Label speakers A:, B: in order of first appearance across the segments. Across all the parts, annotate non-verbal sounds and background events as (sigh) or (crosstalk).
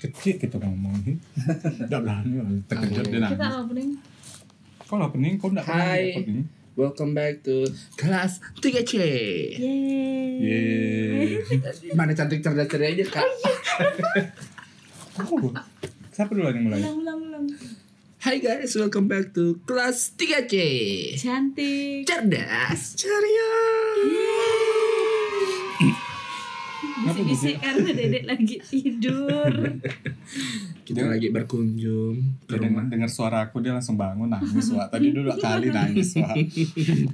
A: kecil kita ngomongin tidak berani terkejut dia
B: Kita
A: nangis
B: opening.
A: kalau pening kau tidak pernah
C: Hai.
A: record ini
C: Welcome back to kelas 3C.
B: Yeay.
A: iya. Yeay.
C: Mana cantik cerdas ceria aja kak.
A: Aku loh. Siapa dulu yang mulai?
B: Ulang, ulang, ulang.
C: Hai guys, welcome back to kelas 3C.
B: Cantik.
C: Cerdas ceria.
A: Kenapa
B: Bisik-bisik karena dedek lagi tidur.
C: Kita lagi berkunjung ke
A: Dia dengar,
C: rumah.
A: dengar suara aku dia langsung bangun nangis wah. Tadi dulu kali nangis wah.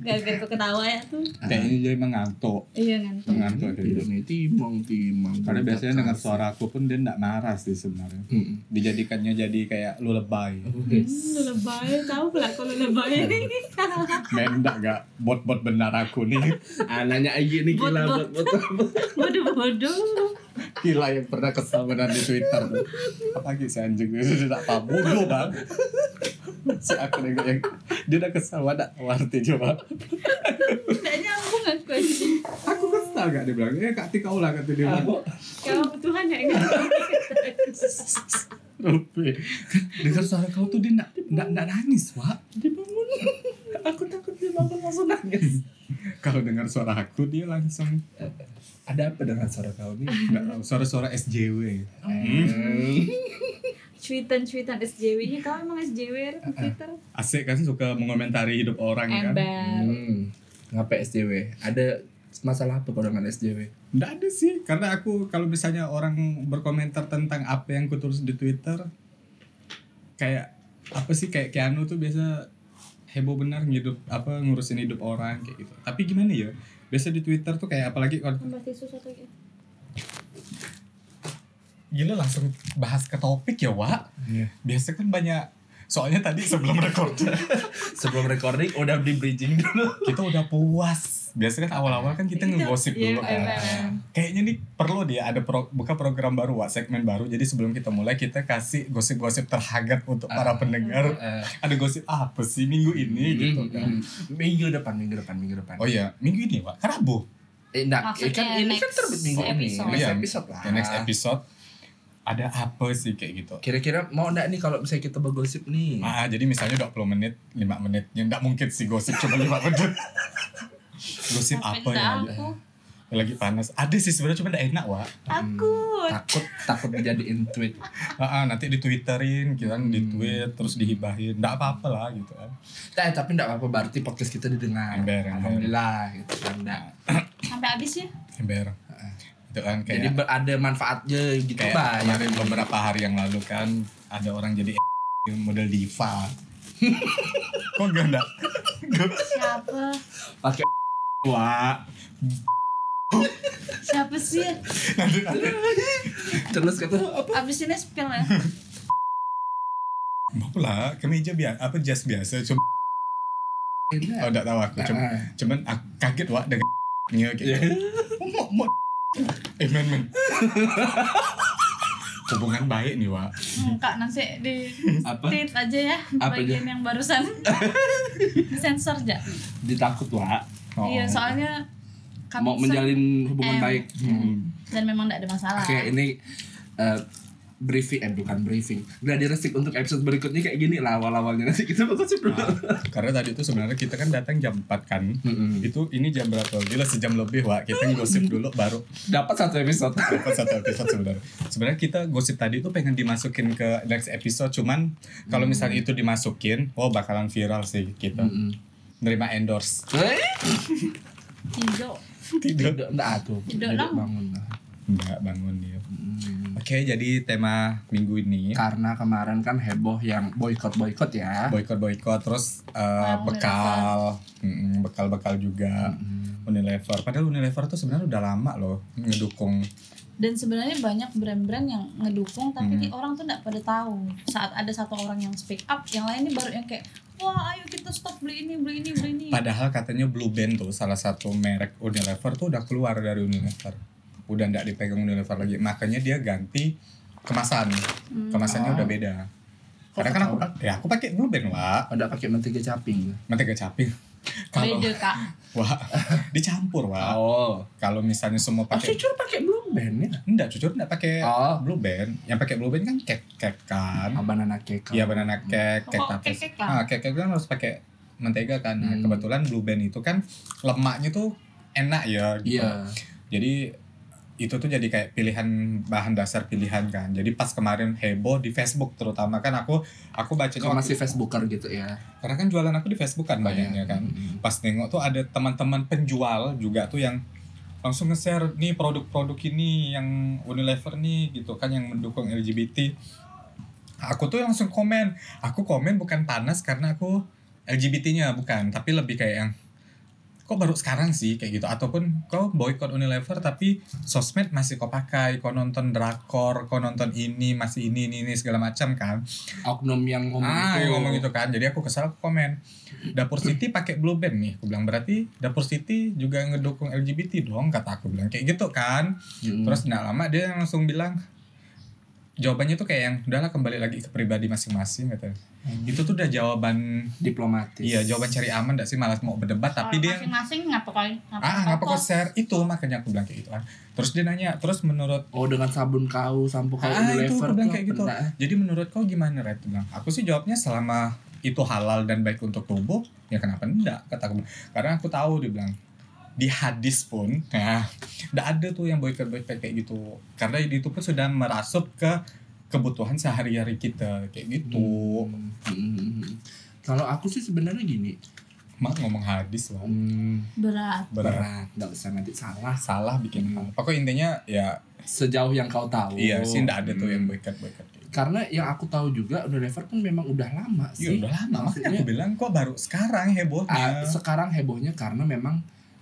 B: Gara-gara kau ketawa ya tuh.
A: Kayaknya dia mengantuk,
B: Iya ngantuk.
A: mengantuk dia.
C: Tidurnya timang timang.
A: Karena biasanya dengar suara aku pun dia tidak marah sih sebenarnya.
C: Mm-mm.
A: Dijadikannya jadi kayak lu lebay.
C: Oh,
B: Hmm, lu
C: yes.
B: lebay, tahu pula kalau lebay.
A: Men enggak gak bot-bot benar aku nih.
C: Anaknya Ayi Ah, nih gila buat
B: Bot-bot. Bodoh-bodoh.
A: Gila yang pernah kesabaran di Twitter. Apalagi si anjing itu tidak apa bodoh bang. Si aku nengok yang dia udah kesal ada arti coba.
B: Tidak nyambung aku aja.
A: Aku
C: kan
A: kesal gak dia bilang,
C: "Eh,
A: ya Kak Ti kau lah kata dia bilang.
B: Kau Tuhan ya enggak.
A: Rupi. Dengar suara kau tuh dia nak nak nak nangis, Wak. Dia
C: (laughs)
A: bangun. Aku takut dia bangun langsung nangis. Kalau dengar suara aku dia langsung ada apa dengan suara kau nih? Enggak tahu suara-suara SJW.
C: Hmm.
B: Cuitan-cuitan SJW-nya, kau emang SJW ya di Twitter?
A: Asik kan suka mengomentari hidup orang kan?
B: Ember.
C: Hmm. Ngapa SJW? Ada masalah apa kau dengan SJW?
A: Nggak ada sih, karena aku kalau misalnya orang berkomentar tentang apa yang kutulis di Twitter kayak apa sih kayak Keanu tuh biasa heboh benar hidup apa ngurusin hidup orang kayak gitu. Tapi gimana ya? Biasa di Twitter tuh kayak apalagi kalau
B: Hmm. Tambah tisu satu lagi.
A: gila langsung bahas ke topik ya, Wak.
C: Iya.
A: Biasa kan banyak soalnya tadi sebelum (laughs) record
C: Sebelum recording udah di bridging dulu.
A: kita udah puas. Biasa kan awal-awal kan kita
B: Iya,
A: ngegosip
B: iya,
A: dulu kan.
B: emang.
A: Kayaknya nih perlu dia ada pro, buka program baru, Wak, segmen baru. Jadi sebelum kita mulai kita kasih gosip-gosip terhangat untuk para
C: Ah.
A: pendengar.
C: Eh,
A: Ada gosip apa sih minggu ini
C: Hmm,
A: gitu kan.
C: Minggu depan, minggu depan, minggu depan.
A: Oh iya, minggu ini, Wak. Kan Rabu.
C: Eh, nah,
B: Maksudnya
C: eh, kan ini kan
B: next
C: terbit minggu ini.
B: episode.
C: Next
A: Iya.
C: episode lah.
A: Ya, next episode ada apa sih kayak gitu.
C: Kira-kira mau enggak nih kalau misalnya kita bergosip nih?
A: Ah, jadi misalnya 20 menit, 5 menit. Ya enggak mungkin sih gosip cuma 5
B: (laughs)
A: menit. gosip apa
B: Minta
A: ya?
B: Aku.
A: Lagi panas. Ada sih sebenarnya cuma enggak enak, Wak.
B: Aku.
C: Takut takut dijadiin tweet.
A: Ah, ah, nanti ditwitterin, kita
C: Hmm.
A: di tweet terus dihibahin. Enggak apa-apa lah gitu kan.
C: Eh, tapi enggak apa-apa berarti podcast kita didengar.
A: Ember, ember.
C: Alhamdulillah gitu kan. Nah,
B: Sampai habis ya.
A: Ember. Gitu kan kayak
C: Ah, Jadi ber- ada manfaatnya gitu
A: kayak
C: banyak.
A: kemarin beberapa hari yang lalu kan ada orang jadi (laughs) model diva (laughs) kok gak enggak
B: Siapa?
C: Pakai
A: wah
B: Siapa sih?
A: nanti nanti
C: (laughs) terus kata apa?
B: Abis ini spill ya.
A: mau lah kemeja biasa apa jas biasa cuma oh
C: Enak.
A: enggak tahu aku cuman
C: Ah.
A: cuman aku kaget wah dengan nya (laughs) kayak gitu."
C: gitu.
A: mau mau eh men
C: (laughs)
A: men hubungan baik nih wah
B: Enggak nanti di
C: Apa?
B: tweet aja ya
C: Apa
B: bagian yang
A: (laughs)
B: barusan. Disensor aja.
C: (laughs) Ditakut, Wak.
A: Oh.
B: Iya, soalnya kami
C: Mau menjalin hubungan
B: Em.
C: baik. Hmm.
B: dan memang tidak ada masalah.
C: Oke, ini eh, briefing eh bukan briefing. Gladi resik untuk episode berikutnya kayak gini lah awal-awalnya (laughs) nanti kita bakal sih dulu.
A: karena tadi itu sebenarnya kita kan datang jam 4 kan
C: Mm-mm.
A: itu ini jam berapa gila sejam lebih wah kita ngosip dulu baru
C: Dapat satu (laughs) episode.
A: dapat satu episode sebenarnya. Sebenarnya kita gosip tadi tuh pengen dimasukin ke next episode, cuman kalau misalnya itu dimasukin, oh bakalan viral sih kita.
C: Mm-mm.
A: Nerima endorse. (laughs)
C: Eh,
B: Tigo.
A: Tidak.
C: Tidak enggak tuh. Tidak
B: Tidak dong.
C: bangun.
A: Enggak bangun dia.
C: Mm.
A: Oke, jadi tema minggu ini
C: Karena kemarin kan heboh yang boykot-boykot ya.
A: boikot-boikot terus eh,
B: Wow,
A: bekal, Mm-mm, bekal-bekal juga. Unilever. Padahal Unilever tuh sebenarnya udah lama loh ngedukung.
B: Dan sebenarnya banyak brand-brand yang ngedukung tapi
A: Hmm.
B: di orang tuh tidak pada tahu. Saat ada satu orang yang speak up, yang lain ini baru yang kayak wah ayo kita stop beli ini beli ini beli ini.
C: Iya.
A: Padahal katanya Blue Band tuh salah satu merek Unilever tuh udah keluar dari Unilever. Udah nggak dipegang Unilever lagi. Makanya dia ganti kemasan.
B: Hmm.
A: Kemasannya
C: Oh.
A: udah beda. Karena kan aku
C: ketahuan?
A: ya aku pakai Blue Band, Wak.
C: Ada pakai mentega caping.
A: Mentega caping. Kalau
B: Beda kak.
A: Wak dicampur, Wak.
C: Oh.
A: Kalau misalnya semua pakai
C: Pakai cuma Oh, pakai belum bandnya?
A: Enggak, jujur enggak pakai
C: Oh,
A: blue band. Yang pakai blue band kan cake cake kan.
C: Banana Cake.
A: Iya banana cake, cake
B: Kok
A: tapis.
B: kekek
A: Ah,
B: lah.
A: cake cake kan harus pakai mentega kan. Nah,
C: Oh, Hmm.
A: kebetulan blue band itu kan lemaknya tuh enak ya gitu.
C: Iya.
A: Jadi itu tuh jadi kayak pilihan bahan dasar pilihan kan. Jadi pas kemarin heboh di Facebook terutama kan aku aku bacanya
C: Kok masih Oh
A: waktu-
C: Facebooker gitu ya?
A: karena kan jualan aku di Facebook kan banyaknya kan.
C: Mm.
A: Pas nengok tuh ada teman-teman penjual juga tuh yang langsung nge-share nih produk-produk ini yang Unilever nih gitu kan yang mendukung LGBT. Aku tuh langsung komen. Aku komen bukan panas karena aku LGBT-nya bukan, tapi lebih kayak yang kok baru sekarang sih kayak gitu ataupun kau boykot Unilever tapi sosmed masih kau pakai, kau nonton drakor, kau nonton ini, masih ini ini, ini segala macam kan
C: Oknum yang ngomong
A: ah,
C: itu.
A: yang ngomong gitu kan. Jadi aku kesal aku komen. Dapur City pakai blue band nih. Aku bilang berarti Dapur City juga ngedukung LGBT dong kata aku bilang kayak gitu kan.
C: Mm.
A: Terus nggak lama dia langsung bilang jawabannya tuh kayak yang udahlah kembali lagi ke pribadi masing-masing katanya. Itu tuh udah jawaban
C: diplomatis.
A: iya jawaban cari aman gak sih malas mau berdebat tapi
B: Kalau
A: dia
B: masing-masing ngapa kali ngapa
A: ah ngapa kok share itu makanya aku bilang kayak gitu kan. Terus dia nanya, terus menurut
C: Oh dengan sabun kau, sampo kau,
A: Ah, itu
C: Unilever
A: aku bilang
C: tuh
A: kayak gitu.
C: pernah.
A: Jadi menurut kau gimana Red? Bilang, aku sih jawabnya selama itu halal dan baik untuk tubuh, ya kenapa enggak? Kata aku. Karena aku tahu dia bilang di hadis pun, nah, enggak ada tuh yang boycott boycott kayak gitu. Karena itu pun sudah merasuk ke kebutuhan sehari-hari kita kayak gitu.
C: Mm. Kalau aku sih sebenarnya gini,
A: Mak ngomong hadis loh.
C: mm,
B: berat
A: Hmm. Berat.
C: berat, nggak usah nanti salah.
A: Salah bikin
C: Hmm.
A: hal. Pokoknya intinya ya
C: Sejauh yang kau tahu.
A: iya sih enggak ada tuh yang
C: Mm.
A: boycott boycott. kayak gitu.
C: Karena yang aku tahu juga Unilever pun memang udah lama
A: Ya
C: sih.
A: udah lama makanya
C: maksudnya-
A: aku bilang kok baru sekarang
C: Ah,
A: hebohnya.
C: sekarang hebohnya karena memang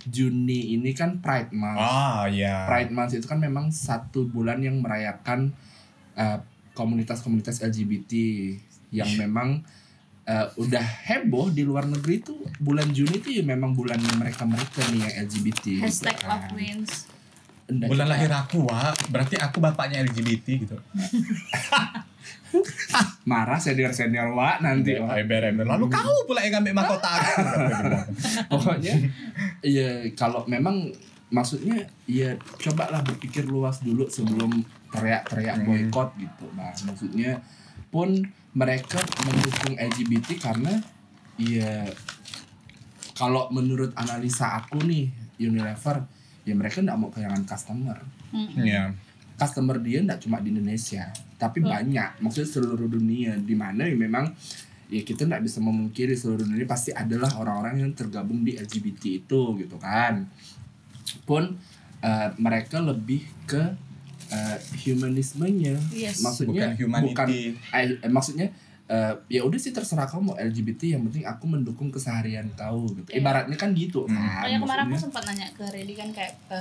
C: Juni ini kan Pride Month.
A: Ah, ya.
C: Pride Month itu kan memang satu bulan yang merayakan eh, komunitas-komunitas LGBT yang
A: Iya.
C: memang eh, udah heboh di luar negeri itu bulan Juni itu ya memang bulan mereka-mereka nih yang LGBT.
A: Iya,
C: gitu
B: hashtag
C: kan.
B: love wins
C: Nggak
A: bulan
C: kita-
A: lahir aku wah berarti aku bapaknya LGBT gitu
C: Marah senior-senior wa nanti Wak.
A: ember ember lalu kau pula yang ngambil mahkota (laughs) aku
C: pokoknya ya kalau memang maksudnya ya cobalah berpikir luas dulu sebelum teriak-teriak
A: Hmm.
C: boykot gitu nah maksudnya pun mereka mendukung LGBT karena ya kalau menurut analisa aku nih Unilever ya mereka nggak mau kehilangan customer
B: Mm-mm.
A: ya
C: customer dia nggak cuma di Indonesia tapi
B: Hmm.
C: banyak maksudnya seluruh dunia di mana ya memang ya kita nggak bisa memungkiri seluruh dunia pasti adalah orang-orang yang tergabung di LGBT itu gitu kan pun eh, mereka lebih ke eh, humanismenya
B: yes
A: bukan
C: maksudnya Iya, bukan
A: humanity
C: eh, eh, maksudnya eh, ya udah sih terserah kau mau LGBT yang penting aku mendukung keseharian kau gitu
B: Iya.
C: ibaratnya kan gitu
A: Hmm.
C: kan
B: Kayak kemarin aku
C: maksudnya.
B: sempat nanya ke Reddy kan kayak ke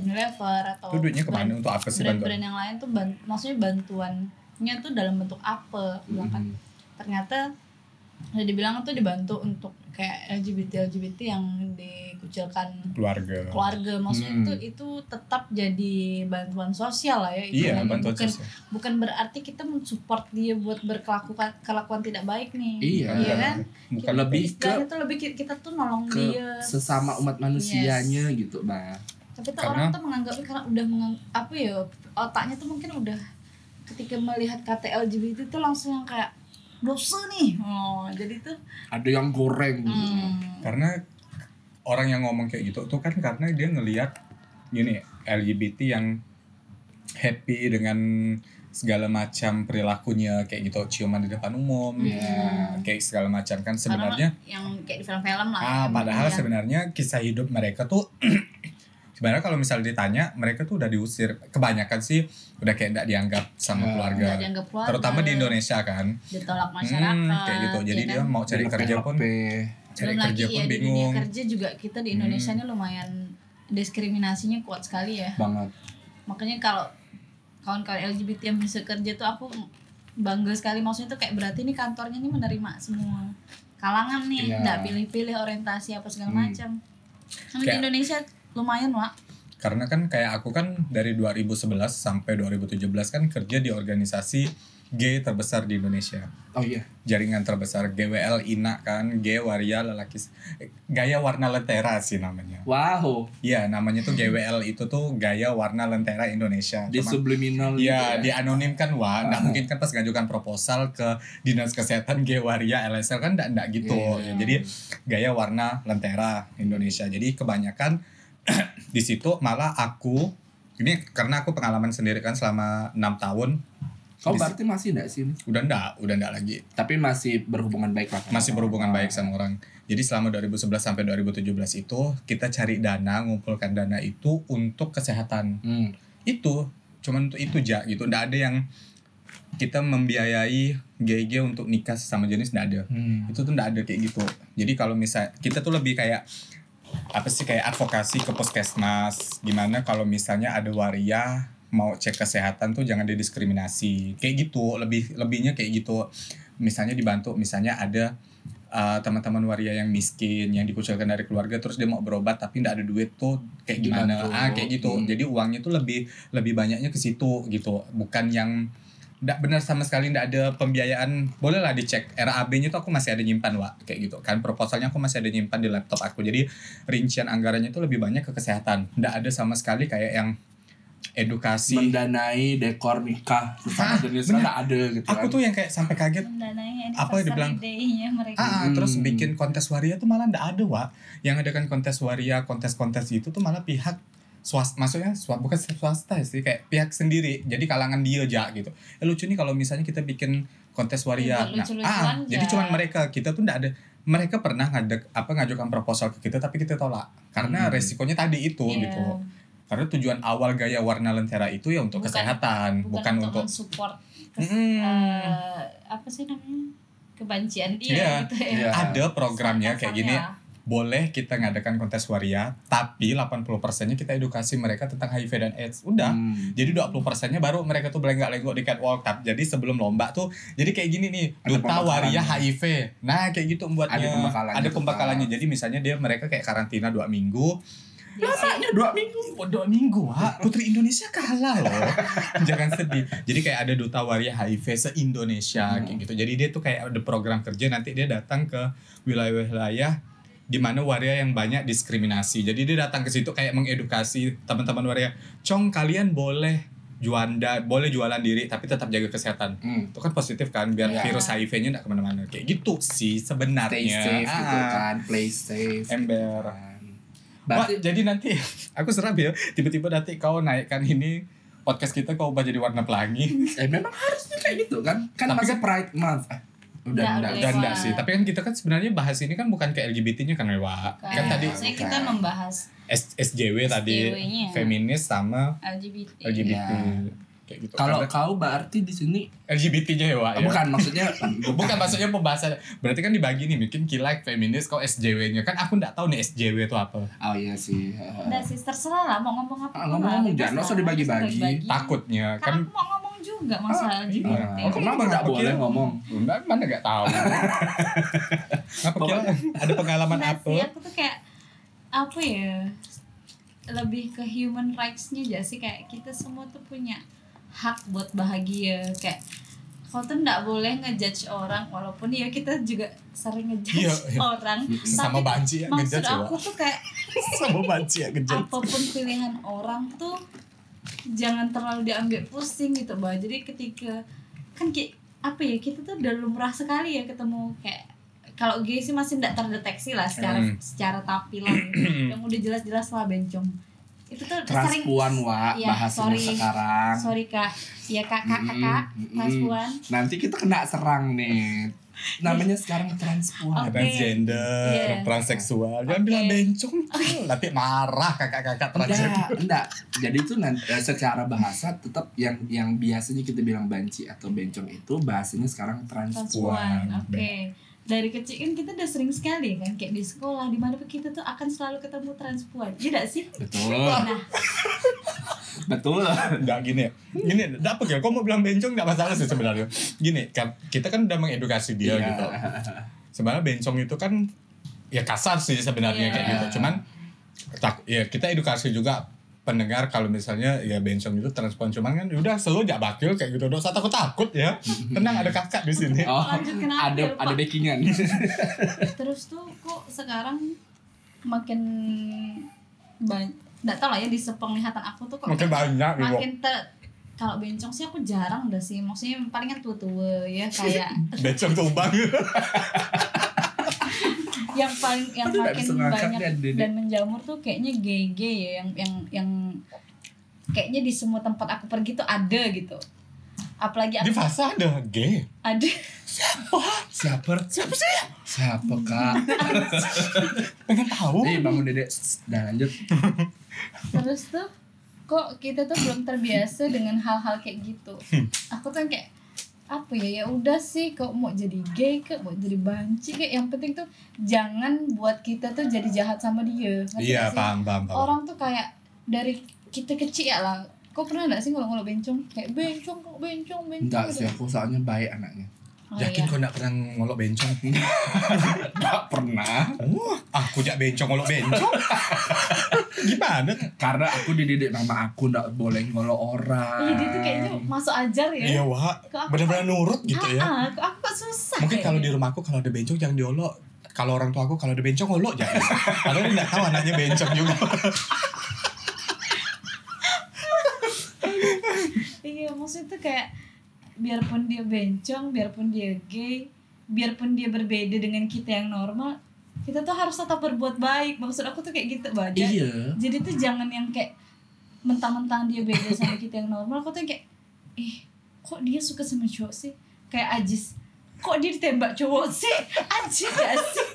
B: Unilever atau
A: itu duitnya kemana
B: brand-
A: untuk apa sih bantuan
B: brand-brand yang lain tuh ban- maksudnya bantuannya tuh dalam bentuk apa Aku bilang kan
C: Mm-mm.
A: Hmm.
B: ternyata udah dibilang tuh dibantu untuk kayak LGBT LGBT yang dikucilkan
A: keluarga
B: keluarga maksudnya
C: Hmm.
B: itu itu tetap jadi bantuan sosial lah
A: iya
B: ya istilahnya.
A: bantuan
B: bukan
A: sosial
B: bukan berarti kita mensupport dia buat berkelakuan kelakuan tidak baik nih
C: iya
B: Iya kan?
A: bukan gitu.
C: Lebih-
B: Istilahnya tuh lebih ki- kita tuh nolong
C: ke
B: dia
C: sesama umat manusianya gitu bah
B: tapi tuh
A: Karena-
B: orang tuh menganggapnya karena udah mengang, apa ya otaknya tuh mungkin udah ketika melihat kata LGBT tuh langsung yang kayak dosa nih oh jadi tuh
C: ada yang goreng
B: hmm,
A: karena orang yang ngomong kayak gitu tuh kan karena dia ngelihat gini LGBT yang happy dengan segala macam perilakunya kayak gitu ciuman di depan umum
C: Iya.
A: kayak segala macam kan sebenarnya
B: yang kayak di film-film lah
A: Ah,
B: yang
A: padahal
B: yang-
A: sebenarnya kisah hidup mereka tuh (clears throat) sebenarnya kalau misalnya ditanya mereka tuh udah diusir kebanyakan sih udah kayak nggak dianggap sama
C: Ya.
A: keluarga
B: nggak dianggap keluarga
A: terutama di Indonesia kan
B: ditolak
A: Hmm,
B: masyarakat
A: kayak gitu jadi
B: ya
A: dia
B: kan?
A: mau cari kerja pun cari
B: Belum
A: kerja
B: lagi
A: pun
B: ya di dunia
A: bingung
B: kerja juga kita di Indonesia
A: Hmm.
B: ini lumayan diskriminasinya kuat sekali ya
C: banget
B: makanya kalau kawan-kawan LGBT yang bisa kerja tuh aku bangga sekali maksudnya tuh kayak berarti nih kantornya nih menerima semua kalangan nih
C: Iya.
B: nggak pilih-pilih orientasi apa segala
C: Hmm.
B: macam sama di
A: Kayak-
B: Indonesia lumayan Wak
A: karena kan kayak aku kan dari 2011 sampai 2017 kan kerja di organisasi gay terbesar di Indonesia
C: oh iya
A: jaringan terbesar GWL INA kan G Waria lelaki eh, gaya warna lentera sih namanya
C: wow
A: Iya namanya tuh GWL itu tuh gaya warna lentera Indonesia
C: di
A: Cuma- Iya,
C: subliminal gitu ya.
A: dianonimkan wah, nggak mungkin kan pas ngajukan proposal ke dinas kesehatan (laughs) Gewaria LSL kan nggak nggak gitu.
C: Iya,
B: iya.
A: Jadi gaya warna lentera Indonesia. Jadi kebanyakan (clears throat) di situ malah aku ini karena aku pengalaman sendiri kan selama enam tahun Di-
C: kau berarti masih enggak sih
A: udah ndak udah ndak lagi
C: tapi masih berhubungan baik lah
A: masih berhubungan baik sama orang. Jadi selama 2011 sampai 2017 itu kita cari dana, ngumpulkan dana itu untuk kesehatan
C: hmm.
A: itu cuman untuk itu aja gitu ndak ada yang kita membiayai GG untuk nikah sesama jenis ndak ada
C: Hmm.
A: itu tuh ndak ada kayak gitu jadi kalau misal kita tuh lebih kayak apa sih kayak advokasi ke puskesmas gimana kalau misalnya ada waria mau cek kesehatan tuh jangan didiskriminasi kayak gitu lebih lebihnya kayak gitu misalnya dibantu misalnya ada uh, teman-teman waria yang miskin yang dikucilkan dari keluarga terus dia mau berobat tapi ndak ada duit tuh kayak gimana
C: Dibantu.
A: ah kayak gitu
C: Hmm.
A: jadi uangnya tuh lebih lebih banyaknya ke situ gitu bukan yang ndak benar sama sekali ndak ada pembiayaan boleh lah dicek RAB-nya tuh aku masih ada nyimpan wa kayak gitu kan proposalnya aku masih ada nyimpan di laptop aku jadi rincian anggarannya tuh lebih banyak ke kesehatan ndak ada sama sekali kayak yang edukasi
C: mendanai dekor nikah sesama
A: Hah, bener.
C: jenis kan nggak ada gitu
A: aku
C: kan
A: tuh yang kayak sampai kaget
B: mendanai
A: Iya. Apa
B: anniversary
A: dibilang?
B: day-nya mereka
A: Ah, ah,
C: Hmm.
A: terus bikin kontes waria tuh malah ndak ada, Wak. Yang adakan kontes waria, kontes-kontes itu tuh malah pihak swasta, maksudnya swasta, bukan (laughs) swasta sih, kayak pihak sendiri. Jadi kalangan dia aja gitu. Eh, lucu nih kalau misalnya kita bikin kontes waria.
B: Iya, lucu-lucuan
A: ah,
B: aja.
A: jadi cuman mereka, kita tuh ndak ada mereka pernah ngajak apa ngajukan proposal ke kita tapi kita tolak karena
C: Hmm.
A: resikonya tadi itu
B: Iya.
A: gitu. Karena tujuan awal gaya warna lentera itu ya untuk
B: Bukan-
A: kesehatan, bukan,
B: bukan,
A: untuk
B: untuk
A: Hmm.
B: support
A: Mm-mm.
B: apa sih namanya kebancian dia
A: Iya,
B: gitu ya
C: iya.
A: ada programnya kayak gini.
B: Kasarnya.
A: boleh kita ngadakan kontes waria tapi 80 persennya kita edukasi mereka tentang HIV dan AIDS udah
C: Hmm.
A: jadi 20 persennya baru mereka tuh belenggak lenggok di catwalk Tap- jadi sebelum lomba tuh jadi kayak gini nih
C: Ada
A: duta
C: pembekalan.
A: waria HIV nah kayak gitu membuatnya
C: Ada pembekalannya
A: ada
C: tetap.
A: pembekalannya jadi misalnya dia mereka kayak karantina dua minggu
B: Jadi-
A: Masanya dua minggu dua minggu Wak. putri Indonesia kalah loh (laughs) jangan sedih jadi kayak ada duta waria HIV se Indonesia
C: Hmm.
A: kayak gitu jadi dia tuh kayak ada program kerja nanti dia datang ke wilayah-wilayah di mana waria yang banyak diskriminasi. Jadi dia datang ke situ kayak mengedukasi teman-teman waria. Cong kalian boleh juanda, boleh jualan diri tapi tetap jaga kesehatan.
C: Hmm.
A: Itu kan positif kan biar
C: Iya.
A: virus HIV-nya nggak kemana-mana. Kayak gitu sih
C: Stay
A: sebenarnya.
C: safe gitu
A: Ah,
C: kan, play safe.
A: Ember.
C: Kan.
A: Wah,
C: Berarti
A: jadi nanti (laughs) aku serap ya. Tiba-tiba nanti kau naikkan ini podcast kita kau ubah jadi warna pelangi.
C: eh memang harusnya kayak gitu kan? Kan
A: Tapi
C: masih Pride Month. Eh, udah
B: Nggak,
C: enggak.
B: udah.
A: Dan enggak
B: Wah.
A: sih. Tapi kan kita kan sebenarnya bahas ini kan bukan ke LGBT-nya kan, Wak.
B: Bukan.
C: Iya.
A: Kan tadi
B: Maksudnya
C: bukan.
B: kita membahas
A: S- SJW tadi
B: SJW-nya.
A: feminis sama
B: LGBT,
A: LGBT.
C: Iya.
A: Kayak gitu.
C: Kalau
A: Karena
C: kau berarti di sini
A: LGBT-nya ya, Wak, ya.
C: bukan maksudnya
A: (laughs) Bukan maksudnya pembahasan. Berarti kan dibagi nih, mungkin kilek, feminis, kau SJW-nya. Kan aku nggak tahu nih SJW itu apa.
C: Oh iya sih.
B: Nah, sis terserah lah mau ngomong apa.
C: Ah, ngomong-ngomong, jangan usah dibagi-bagi.
A: Takutnya
B: Kan
A: kan
B: aku mau ngomong juga masalah
A: Iya.
B: LGBT.
C: Oh, kenapa
A: Kenapa
C: nggak
A: nggak
C: boleh
A: pikir?
C: ngomong?
A: Kan, Mbak mana nggak (laughs) tahu. Ngapa kira ada pengalaman
B: Nah, sih,
A: apa?
B: aku tuh kayak apa ya? Lebih ke human rights-nya aja sih kayak kita semua tuh punya hak buat bahagia kayak kau tuh nggak boleh ngejudge orang walaupun ya kita juga sering ngejudge
A: Iya, iya.
B: orang
A: Sama
B: tapi
A: banci ya
B: maksud
A: ngejat ya.
B: aku tuh kayak
A: Sama banci ya ngejat.
B: apapun pilihan orang tuh jangan terlalu diambil pusing gitu bah jadi ketika kan ki- apa ya kita tuh udah lumrah sekali ya ketemu kayak kalau gay sih masih tidak terdeteksi lah secara
A: Hmm.
B: secara tampilan
C: (clears throat)
B: yang udah jelas-jelas lah bencong itu tuh sering
C: Transpuan wa
B: Iya,
C: bahasanya
B: sorry.
C: sekarang.
B: sorry kak ya kakak
C: Mm-mm,
B: kakak
C: mm-mm.
B: transpuan
C: Nanti kita kena serang nih. Namanya
B: Iya.
C: sekarang transpuan.
B: (laughs) Oke.
A: Transgender,
B: Iya.
A: transseksual. Jangan
B: Oke.
A: bilang bencong. Cil. Nanti marah kakak-kakak transgender.
C: Enggak, enggak. Jadi itu nanti eh, secara bahasa tetap yang yang biasanya kita bilang banci atau bencong itu bahasanya sekarang trans.
B: transpuan
A: Transpuan.
B: oke dari kecil kan kita udah sering sekali kan kayak di sekolah di mana pun kita tuh akan selalu ketemu transpuan tidak sih
C: Betul.
B: nah
C: Betul.
A: Enggak gini ya. Gini, enggak apa ya? Kok mau bilang bencong enggak masalah sih sebenarnya. Gini, kan kita kan udah mengedukasi dia
C: Iya.
A: gitu. Sebenarnya bencong itu kan ya kasar sih sebenarnya
B: Iya.
A: kayak gitu. Cuman tak- ya kita edukasi juga pendengar kalau misalnya ya bencong itu transpon cuman kan udah selalu jak bakil kayak gitu dosa takut takut ya tenang ada kakak di
B: (laughs)
A: sini
C: Oh,
B: Lanjut kenapa
C: ada
B: ya, Pak?
C: ada backingan.
B: terus tuh kok sekarang makin banyak nggak tau lah ya di sepenglihatan aku tuh kok
A: makin banyak ibu
B: makin ter kalau bencong sih aku jarang dah sih maksudnya palingan tua-tua ya
C: (laughs)
B: kayak
A: bencong
B: (laughs)
A: tumbang
B: Iya. yang paling yang
C: Aduh, nggak
B: makin
C: bisa ngangkat
B: banyak
C: nih, Dede.
B: dan menjamur tuh kayaknya GG ya yang yang yang kayaknya di semua tempat aku pergi tuh ada gitu apalagi
A: di
B: aku
A: fase ada gay
B: ada
C: Siapa?
A: siapa sih
C: Siapa, Kak?
A: pengen tahu
B: Iya.
C: Eh, bangun Dedek. Sss, Dah lanjut.
B: terus tuh kok kita tuh belum terbiasa dengan hal-hal kayak gitu
A: Hmm.
B: aku kan kayak apa ya ya udah sih kok mau jadi gay ke mau jadi banci kayak yang penting tuh jangan buat kita tuh jadi jahat sama dia Ngerti
A: iya
B: nggak sih?
A: paham paham paham
B: orang tuh kayak dari kita kecil ya lah kok pernah nggak sih ngolok-ngolok bencong kayak bencong kok bencong bencong
C: Enggak sih,
B: gitu.
C: aku soalnya baik anaknya.
B: oh,
A: yakin
B: iya.
A: kau nggak pernah ngolok bencong
C: Enggak pernah.
A: Wah, aku jak bencong ngolok
B: (laughs)
A: bencong gimana
C: Karena aku dididik mama aku enggak boleh ngolok orang.
B: Ih, Iya, dia tuh kayaknya masuk ajar ya
A: iya wah
B: Kok aku-
A: benar-benar nurut gitu ya
B: Ah, ah, kok aku kok susah
A: Mungkin
B: ya?
A: kalau di rumahku kalau ada bencong jangan diolok. Kalau orang tua aku kalau ada bencong olok
B: (laughs)
A: jangan. Padahal dia nggak tahu anaknya bencong juga.
B: Iya maksudnya tuh kayak biarpun dia bencong, biarpun dia gay, biarpun dia berbeda dengan kita yang normal, kita tuh harus tetap berbuat baik. Maksud aku tuh kayak gitu baca.
C: Iya.
B: Jadi tuh jangan yang kayak mentang-mentang dia beda sama kita yang normal, aku tuh kayak eh kok dia suka sama cowok sih? Kayak ajis. Kok dia ditembak cowok sih? Ajis gak sih?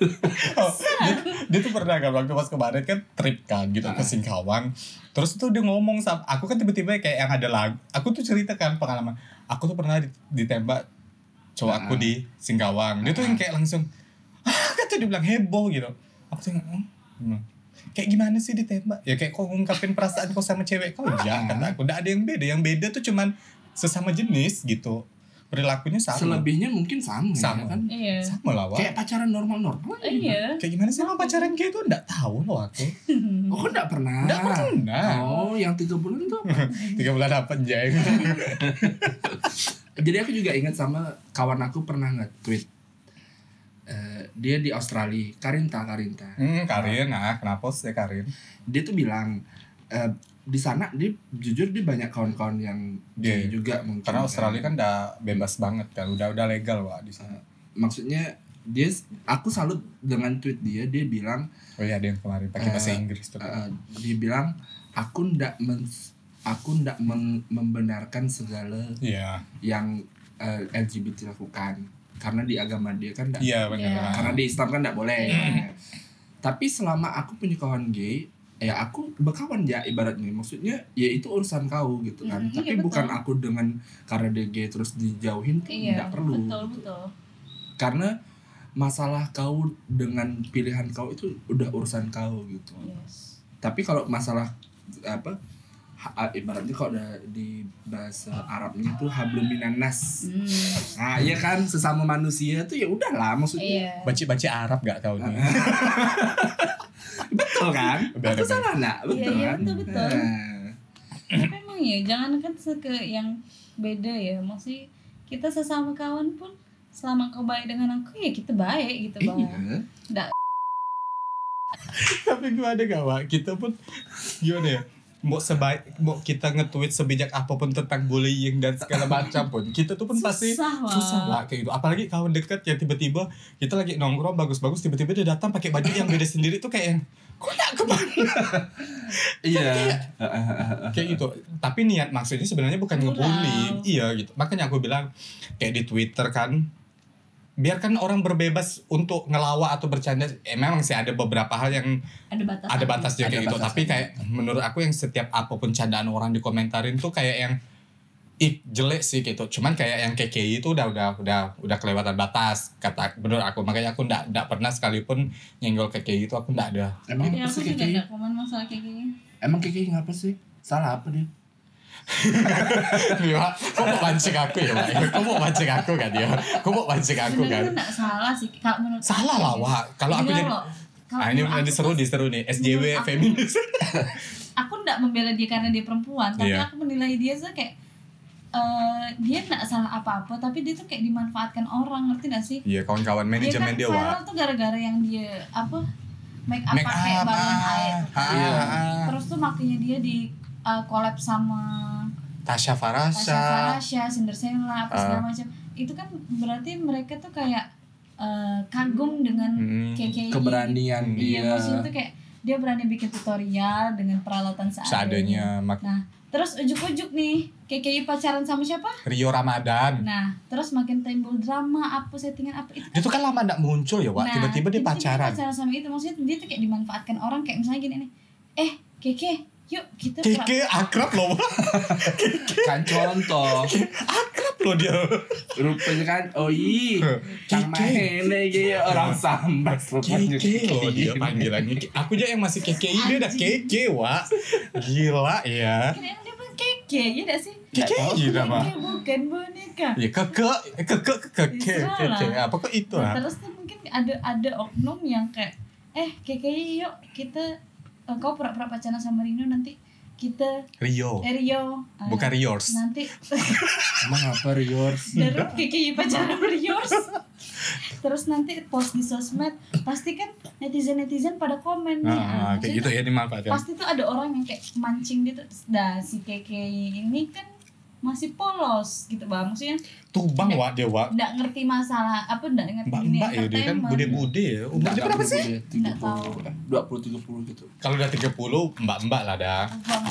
A: Oh, dia, dia tuh pernah kan waktu pas kemarin kan trip kan gitu
C: Ah.
A: ke Singkawang. Terus tuh dia ngomong sama aku kan tiba-tiba kayak yang ada lagu. Aku tuh ceritakan pengalaman. Aku tuh pernah di- ditembak cowok aku
C: Ah.
A: di Singkawang. Dia tuh yang kayak langsung ah kata dia bilang heboh gitu. Aku tuh yang, "Hmm, hmm." Kayak gimana sih ditembak? Ya kayak kau ngungkapin perasaan kau sama cewek
C: (laughs)
A: kau ya kata aku. Nggak ada yang beda. Yang beda tuh cuman sesama jenis gitu. Perilakunya sama.
C: Selebihnya mungkin sama, ya
A: Sama.
C: kan.
B: (laughs) Iya.
A: Sama lah, Wak.
C: Kayak pacaran normal-normal.
B: Iya.
A: Kayak gimana sih emang pacaran kayak itu enggak tahu loh aku.
C: Oh, kok enggak pernah?
A: Enggak pernah.
C: Oh, yang tiga bulan tuh
A: Tiga bulan dapat jeng.
C: Jadi aku juga ingat sama kawan aku pernah nge-tweet. Eh, dia di Australia, Karinta, Karinta.
A: Hmm, Karin, nah kenapa sih Karin?
C: Dia tuh bilang eh, di sana dia jujur dia banyak kawan-kawan yang gay
A: Gay.
C: juga mungkin.
A: Iya, Karena Australia kan udah bebas banget kan, udah udah legal wah di sana.
C: maksudnya dia aku salut dengan tweet dia, dia bilang
A: Oh iya ada yang kemarin pakai bahasa
C: Eh,
A: Inggris tuh.
C: eh, dia bilang aku ndak men- aku ndak meng- membenarkan segala
A: Iya,
C: yang eh, LGBT lakukan karena di agama dia kan ndak
A: iya
B: Iya.
A: benar.
C: karena di Islam kan nggak boleh.
B: Iya.
C: Tapi selama aku punya kawan gay, ya aku berkawan ya ibaratnya. Maksudnya ya itu urusan kau gitu kan.
B: Mm, iya,
C: Tapi
B: betul.
C: bukan aku dengan karena dia gay terus dijauhin tuh
B: Iya.
C: nggak perlu.
B: Betul, betul.
C: Karena masalah kau dengan pilihan kau itu udah urusan kau gitu.
B: Yes.
C: Tapi kalau masalah apa ha- ah, ibaratnya kalau udah di bahasa Arabnya itu habluminanas.
B: Hmm.
C: Nah, iya kan sesama manusia tuh ya udahlah maksudnya.
B: Iya.
A: Baca-baca Arab gak kau nih?
C: betul kan?
A: Udah ada
C: Aku salah nggak? Betul
B: Iya, iya,
C: kan?
B: betul, betul.
C: Nah,
B: Tapi emang ya jangan kan seke yang beda ya maksudnya kita sesama kawan pun selama kau baik dengan aku ya kita baik gitu bang
C: iya.
A: (laughs) Tapi gimana gak wah? Kita pun gimana ya? Mau sebaik, mau kita nge-tweet sebijak apapun tentang bullying dan segala macam pun, kita tuh pun pasti
B: susah Wak.
A: susah lah kayak gitu apalagi kawan dekat yang tiba-tiba kita lagi nongkrong bagus-bagus tiba-tiba dia datang pakai baju yang beda sendiri tuh kayak yang kok nak kemana
C: Iya.
A: kayak gitu tapi niat maksudnya sebenarnya bukan
B: Murau.
A: ngebully iya gitu makanya aku bilang kayak di twitter kan biarkan orang berbebas untuk ngelawak atau bercanda eh, memang sih ada beberapa hal yang
B: ada batas
A: ada batasnya
C: Ada
A: kayak gitu
C: batasnya.
A: tapi kayak menurut aku yang setiap apapun candaan orang dikomentarin tuh kayak yang ih jelek sih gitu cuman kayak yang KKI itu udah udah udah udah kelewatan batas kata menurut aku makanya aku ndak ndak pernah sekalipun nyenggol KKI itu aku ndak ada
C: Emang
B: ya
C: apa
B: aku
C: sih
B: juga
C: KKI?
B: nggak komen masalah kayak gini
C: Emang KKI ngapa sih? Salah apa dia?
A: Iya, kok mau mancing aku ya Wak? Kok mau mancing aku kan dia kok mau mancing aku kan
B: sebenarnya nggak salah sih kalau menurut
A: salah lah wah kalau aku
B: Gila
A: jadi
B: loh. Kalau
A: ah, ini
B: menurut aku
A: diseru
B: pas-
A: diseru nih SJW
B: menurut aku-
A: feminis
B: aku ndak nggak membela dia karena dia perempuan tapi
A: Iya.
B: aku menilai dia tuh kayak eh, dia nggak salah apa-apa tapi dia tuh kayak dimanfaatkan orang ngerti gak sih
A: Iya kawan-kawan manajemen dia
B: dia kan
A: wah.
B: viral tuh gara-gara yang dia apa make up
A: Make
B: pakai
A: up,
B: balon
A: ah.
B: air kan.
A: Ah,
C: Iya.
A: ah.
B: terus tuh makanya dia di eh, collab sama
A: Tasya
B: Tasha
A: Farasha.
B: Farasha, Cinderella apa
A: Ah.
B: segala macam itu kan berarti mereka tuh kayak eh, kagum dengan
A: Mm.
B: kayak gitu
C: keberanian
B: Iya,
C: dia
B: maksudnya tuh kayak dia berani bikin tutorial dengan peralatan seadanya.
A: Seadanya mak
B: Nah, terus ujuk-ujuk nih, KKI pacaran sama siapa?
A: Rio Ramadan.
B: Nah, terus makin timbul drama, apa settingan apa itu.
A: Dia tuh kan lama nggak muncul ya, Wak.
B: Nah,
A: Tiba-tiba dia pacaran.
B: sama itu maksudnya dia tuh kayak dimanfaatkan orang kayak misalnya gini nih. Eh, Keke, yuk kita pra-
A: Keke akrab loh, Wak.
C: kan
B: (laughs)
C: contoh
A: akrab loh dia.
C: rupanya kan oh ih
A: (laughs) Kiki.
C: ini kayak orang sambas rupanya.
A: Keke iya. loh Oh, dia panggilannya. Ke- Aku aja yang masih keke, dia udah
B: Anjing.
A: keke, Wak. Gila ya.
B: Kirain dia bilang Keke, ya gak sih?
A: Keke Oh, gila, Wak.
B: Keke bukan boneka.
A: Ya keke, keke, keke,
B: Salah.
A: keke. Apa kok itu? ah?
B: Nah, terus tuh mungkin ada ada oknum yang kayak eh kayaknya yuk kita eh, kau pura-pura pacaran sama Rino nanti kita
A: Rio.
B: eh, Rio eh,
A: Oh. Bukan Riors.
B: nanti
C: emang apa yours
A: (laughs)
B: darut kayaknya pacaran sama Rios terus nanti post di sosmed pasti kan netizen netizen pada komen nih
A: Nah,
B: Ah,
A: kayak gitu
B: maksudnya
A: ya dimanfaatkan.
B: pasti tuh ada orang yang kayak mancing gitu nah si keke ini kan masih polos gitu bang maksudnya
A: Tubang, Wak, dia, Wak.
B: nggak ngerti masalah apa nggak ngerti
A: Mbak-mbak ya dia kan
B: entertainment.
A: bude-bude ya. Umurnya berapa sih?
C: tiga
B: Nggak tahu.
C: dua puluh tiga puluh gitu
A: Kalau udah 30 mbak-mbak lah dah.
B: Bang,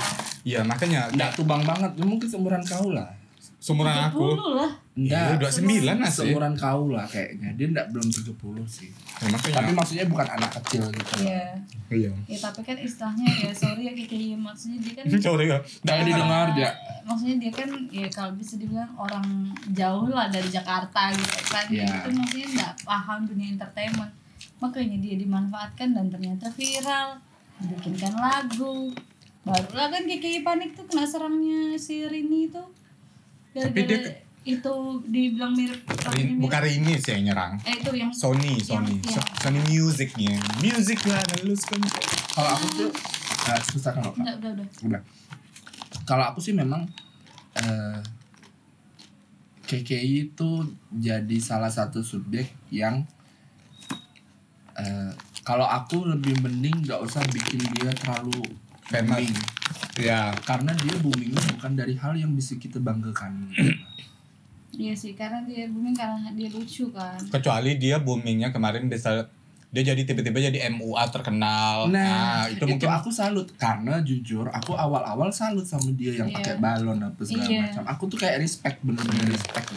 A: Iya makanya
C: nggak tubang banget ya, mungkin seumuran kau lah
A: seumuran aku.
B: 30 lah.
A: Iya,
C: Nggak,
A: 29 lah sih.
C: seumuran kau lah kayaknya dia nggak belum 30 sih
A: Ya, makanya.
C: tapi maksudnya bukan anak kecil gitu
B: Iya.
A: Iya. (laughs)
B: Ya tapi kan istilahnya ya sorry ya kayak maksudnya dia kan
A: Sorry ya.
C: Nggak didengar ya
B: maksudnya dia kan ya kalau bisa dibilang orang jauh lah dari Jakarta gitu kan
C: Iya.
B: itu maksudnya nggak paham dunia entertainment makanya dia dimanfaatkan dan ternyata viral dibikinkan lagu barulah kan KKI panik tuh kena serangnya si Rini itu
A: Tapi
B: gara-gara
A: dia-
B: itu dibilang mirip
A: Rin- bukan ya, Rini sih yang nyerang.
B: eh itu yang ya.
A: Sony, Sony,
B: Yang-
A: So- Sony Music nih. Music lah, lulus kan.
C: kalau aku tuh nah, susah kalau Kak.
B: enggak udah udah
C: udah kalau aku sih memang eh KKI itu jadi salah satu subjek yang eh kalau aku lebih mending nggak usah bikin dia terlalu
A: Famous.
C: booming
A: Ya.
C: karena dia boomingnya bukan dari hal yang bisa kita banggakan Gitu.
B: Iya sih, karena dia booming karena dia lucu kan.
A: Kecuali dia boomingnya kemarin bisa dia jadi tiba-tiba jadi MUA terkenal. Ah,
C: nah
A: itu,
C: itu,
A: mungkin
C: aku salut karena jujur aku awal-awal salut sama dia yang
B: Iya.
C: pakai balon apa segala
B: Iya.
C: macam aku tuh kayak respect bener-bener respect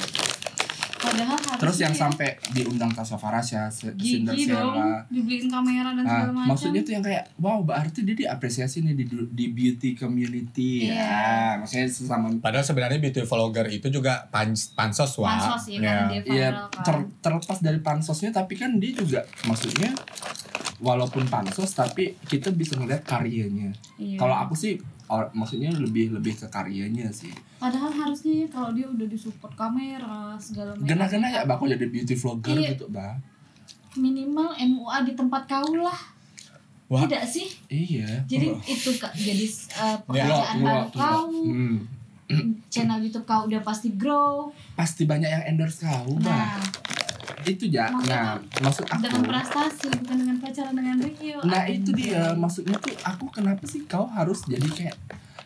B: Padahal harusnya
C: Terus yang
B: ya,
C: sampai diundang Tasya Farasya, Se-
B: gigi
C: Cinderella.
B: dong, dibeliin kamera dan segala
C: Nah,
B: macam.
C: maksudnya tuh yang kayak wow berarti dia diapresiasi nih di du- di beauty community
B: Iya.
C: ya. Maksudnya sesama
A: padahal sebenarnya beauty vlogger itu juga pan pansos wah.
B: pansos sih
A: Ya.
B: karena dia
C: ya
B: viral kan.
C: ter- terlepas dari pansosnya tapi kan dia juga maksudnya walaupun pansos tapi kita bisa ngeliat karyanya.
B: Iya.
C: Kalau aku sih or- maksudnya lebih lebih ke karyanya sih.
B: Padahal harusnya ya kalau dia udah disupport kamera segala macam.
C: Gena-gena ya bakal jadi beauty vlogger
B: Iya.
C: gitu, Bah.
B: Minimal MUA di tempat kau lah.
A: Wah.
B: Tidak sih?
C: Iya.
B: Jadi itu Kak, jadi eh,
C: Iya,
B: pekerjaan
C: iya,
B: baru kau,
C: Hmm.
B: (clears throat) channel YouTube kau udah pasti grow.
C: Pasti banyak yang endorse kau, Bah.
B: Nah,
C: itu ya
B: Maksudnya
C: nah maksud
B: dengan
C: aku
B: prestasi bukan dengan pacaran dengan Rio.
C: nah itu
B: Anjing.
C: dia maksudnya tuh aku kenapa sih kau harus jadi kayak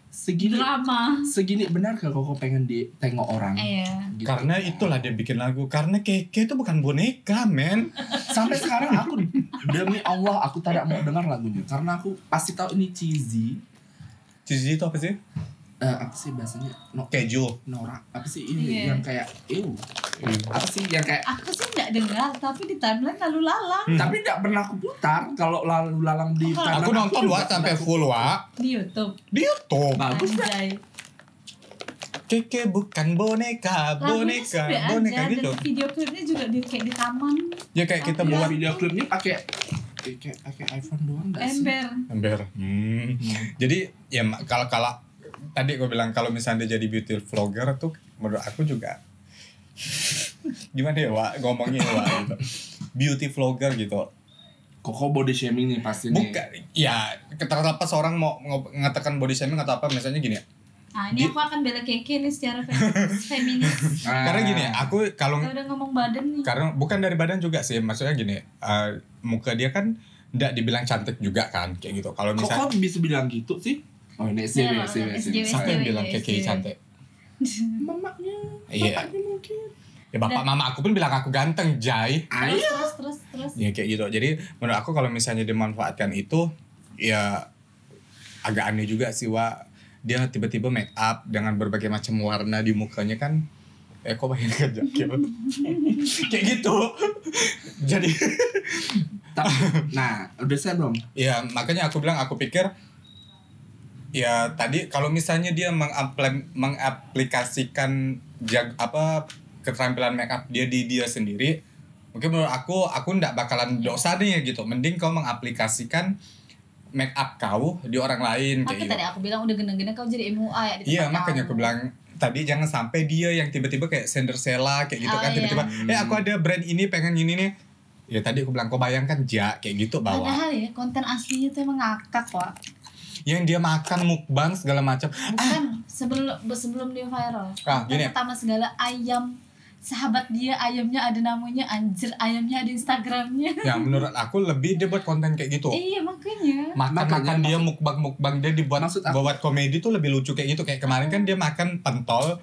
C: segini
B: drama.
C: segini benar ke kau kau pengen ditengok orang
B: Iya.
C: Gitu.
A: Karena itulah dia bikin lagu. Karena Keke itu bukan boneka, men.
C: sampai sekarang aku demi Allah aku tidak mau dengar lagunya karena aku pasti tahu ini cheesy
A: Cici itu apa sih?
C: Eh, apa sih bahasanya no,
A: Keju.
C: norak apa sih ini
B: Iya.
C: yang kayak ew apa sih yang kayak
B: Aku sih nggak dengar, tapi di timeline lalu lalang
C: tapi tidak pernah aku putar kalau lalu lalang di
B: Aku
C: karena
A: Aku nonton
C: juga
A: Wak sampai
C: tidak-
A: full Wak.
B: di YouTube.
A: Di YouTube.
C: bagus dah.
B: Anjay.
A: Keke bukan boneka,
B: Lagunya sih
A: boneka,
B: udah
A: boneka
B: ada
A: gitu.
B: dan video klipnya juga di kayak di taman
A: Ya kayak kita
B: Iya.
C: Buat
A: buat
C: video klipnya pakai pakai pakai iPhone doang nggak sih?
B: ember.
A: ember. Hmm.
C: Hmm.
A: Jadi ya ma- kalau kalau tadi gue bilang kalau misalnya dia jadi beauty vlogger tuh menurut aku juga (laughs) ya, gimana ya Wak ngomongnya Wak gitu. Beauty vlogger gitu.
C: Koko body shaming nih pasti nih.
A: Bukan, ya terlepas seorang mau ngob- mengatakan body shaming atau apa, misalnya gini ya.
B: Nah ini
A: Di-
B: aku akan bela keke nih
A: (laughs)
B: secara fem- feminis.
C: Ah.
A: Karena gini, ya, aku kalau
B: Kita udah ngomong badan nih.
A: karena bukan dari badan juga sih, maksudnya gini, eh, muka dia kan tidak dibilang cantik juga kan, kayak gitu. Kalau
C: Kok
A: misalnya
C: kok bisa bilang gitu sih? Oh ini SJW,
B: Iya,
C: SJW,
B: SJW.
A: siapa yang
B: SJW,
A: bilang
B: ya,
A: keke
C: iya.
B: SJW.
A: cantik?
C: Mamaknya,
A: Iya.
C: bapaknya mungkin.
A: Ya bapak mama aku pun bilang aku ganteng, Jai.
C: Ayo.
B: Terus terus terus terus.
A: Ya kayak gitu. Jadi menurut aku kalau misalnya dimanfaatkan itu ya agak aneh juga sih Wa. Dia tiba-tiba make up dengan berbagai macam warna di mukanya kan eh kok pengen kerja kayak kayak gitu. Jadi
C: Tapi, nah, udah saya belum?
A: ya makanya aku bilang aku pikir ya tadi kalau misalnya dia mengapl- mengaplikasikan jag apa keterampilan make up dia di dia sendiri mungkin menurut aku aku ndak bakalan dosa nih gitu mending kau mengaplikasikan make up kau di orang lain kayak
B: Makanya
A: gitu
B: tadi aku bilang udah gendeng-gendeng kau jadi MUA ya di
A: Iya
B: tempat
A: makanya aku
B: kamu.
A: bilang tadi jangan sampai dia yang tiba-tiba kayak Sendersella kayak gitu
B: Oh,
A: kan
B: iya.
A: tiba-tiba eh aku ada brand ini pengen ini nih ya tadi aku bilang kau bayangkan ja kayak gitu bahwa
B: Padahal ya konten aslinya tuh emang ngakak Wak
A: yang dia makan mukbang segala macam
B: Bukan sebelum sebelum dia viral
A: Ah,
B: Yang
A: gini.
B: Pertama segala ayam Sahabat dia ayamnya ada namanya Anjir ayamnya ada instagramnya
A: ya menurut aku lebih dia buat konten kayak gitu
B: Iya makanya
A: makan makan
C: Makanya
A: dia mukbang mukbang dia dibuat
C: Maksud aku-
A: buat komedi tuh lebih lucu kayak gitu kayak kemarin kan dia makan pentol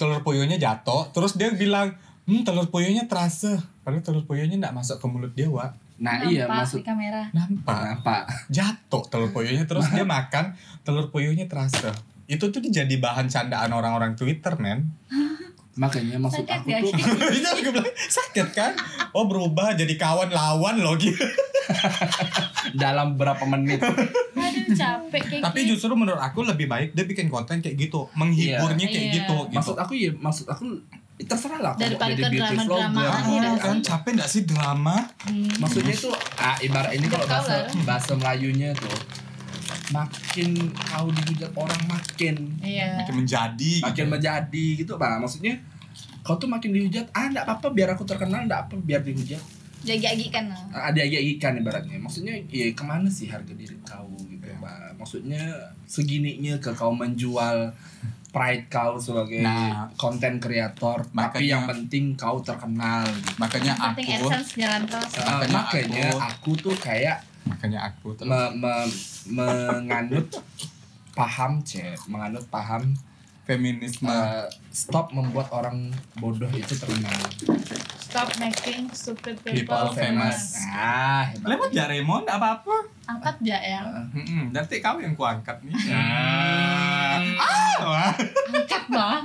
A: telur puyuhnya jatuh terus dia bilang hmm telur puyuhnya terasa padahal telur puyuhnya nggak masuk ke mulut dia wa
C: Nah,
B: Nampak
C: iya maksud nah,
B: di kamera
A: nampak
C: Kenapa?
A: jatuh telur puyuhnya terus dia makan telur puyuhnya terasa itu tuh jadi bahan candaan orang-orang Twitter men (laughs)
C: Makanya maksud aku
B: Sakit ya?
C: tuh
A: itu aku bilang sakit kan oh berubah jadi kawan lawan loh gitu
C: dalam berapa menit
B: Aduh capek kayak
A: (laughs) Tapi
B: gitu.
A: justru menurut aku lebih baik dia bikin konten kayak gitu, menghiburnya kayak
B: Iya.
A: gitu gitu.
C: maksud aku ya maksud aku terserah lah kamu
B: Daripada
C: jadi
B: ke
C: beauty vlogger
B: drama-dramaan
A: Iya
B: ya
A: kan
B: sih?
A: capek gak sih drama?
B: Hmm.
C: maksudnya itu ah, ibarat ini kalau
B: Kau
C: bahasa bahasa Melayunya tuh makin kau dihujat orang makin
B: Iya
A: Makin menjadi
C: makin menjadi gitu pak maksudnya kau tuh makin dihujat ah enggak apa-apa biar aku terkenal enggak apa biar dihujat Ah,
B: Jagi-jagi kan lah
C: ada agak ikan ibaratnya maksudnya ya kemana sih harga diri kau gitu
A: Iya.
C: pak maksudnya segininya ke kau menjual pride kau sebagai
A: Nah.
C: konten kreator tapi
A: Makanya-
C: yang penting kau terkenal gitu.
A: makanya
B: Yang
A: aku
B: penting AdSense jalan terus
C: Uh,
A: Ah, Makanya
C: makanya
A: aku-
C: aku, tuh kayak
A: makanya aku tuh
C: me- me- menganut paham cek menganut paham
A: feminisme.
C: uh, stop membuat orang bodoh itu terkenal
B: Stop making stupid people,
A: People
B: famous.
A: famous.
C: ah hebat.
A: Lewat ya Raymond gak apa-apa.
B: Angkat ja ya
A: Mm-mm, nanti kau yang kuangkat nih.
C: Ah.
A: Ah, wah.
B: Angkat bah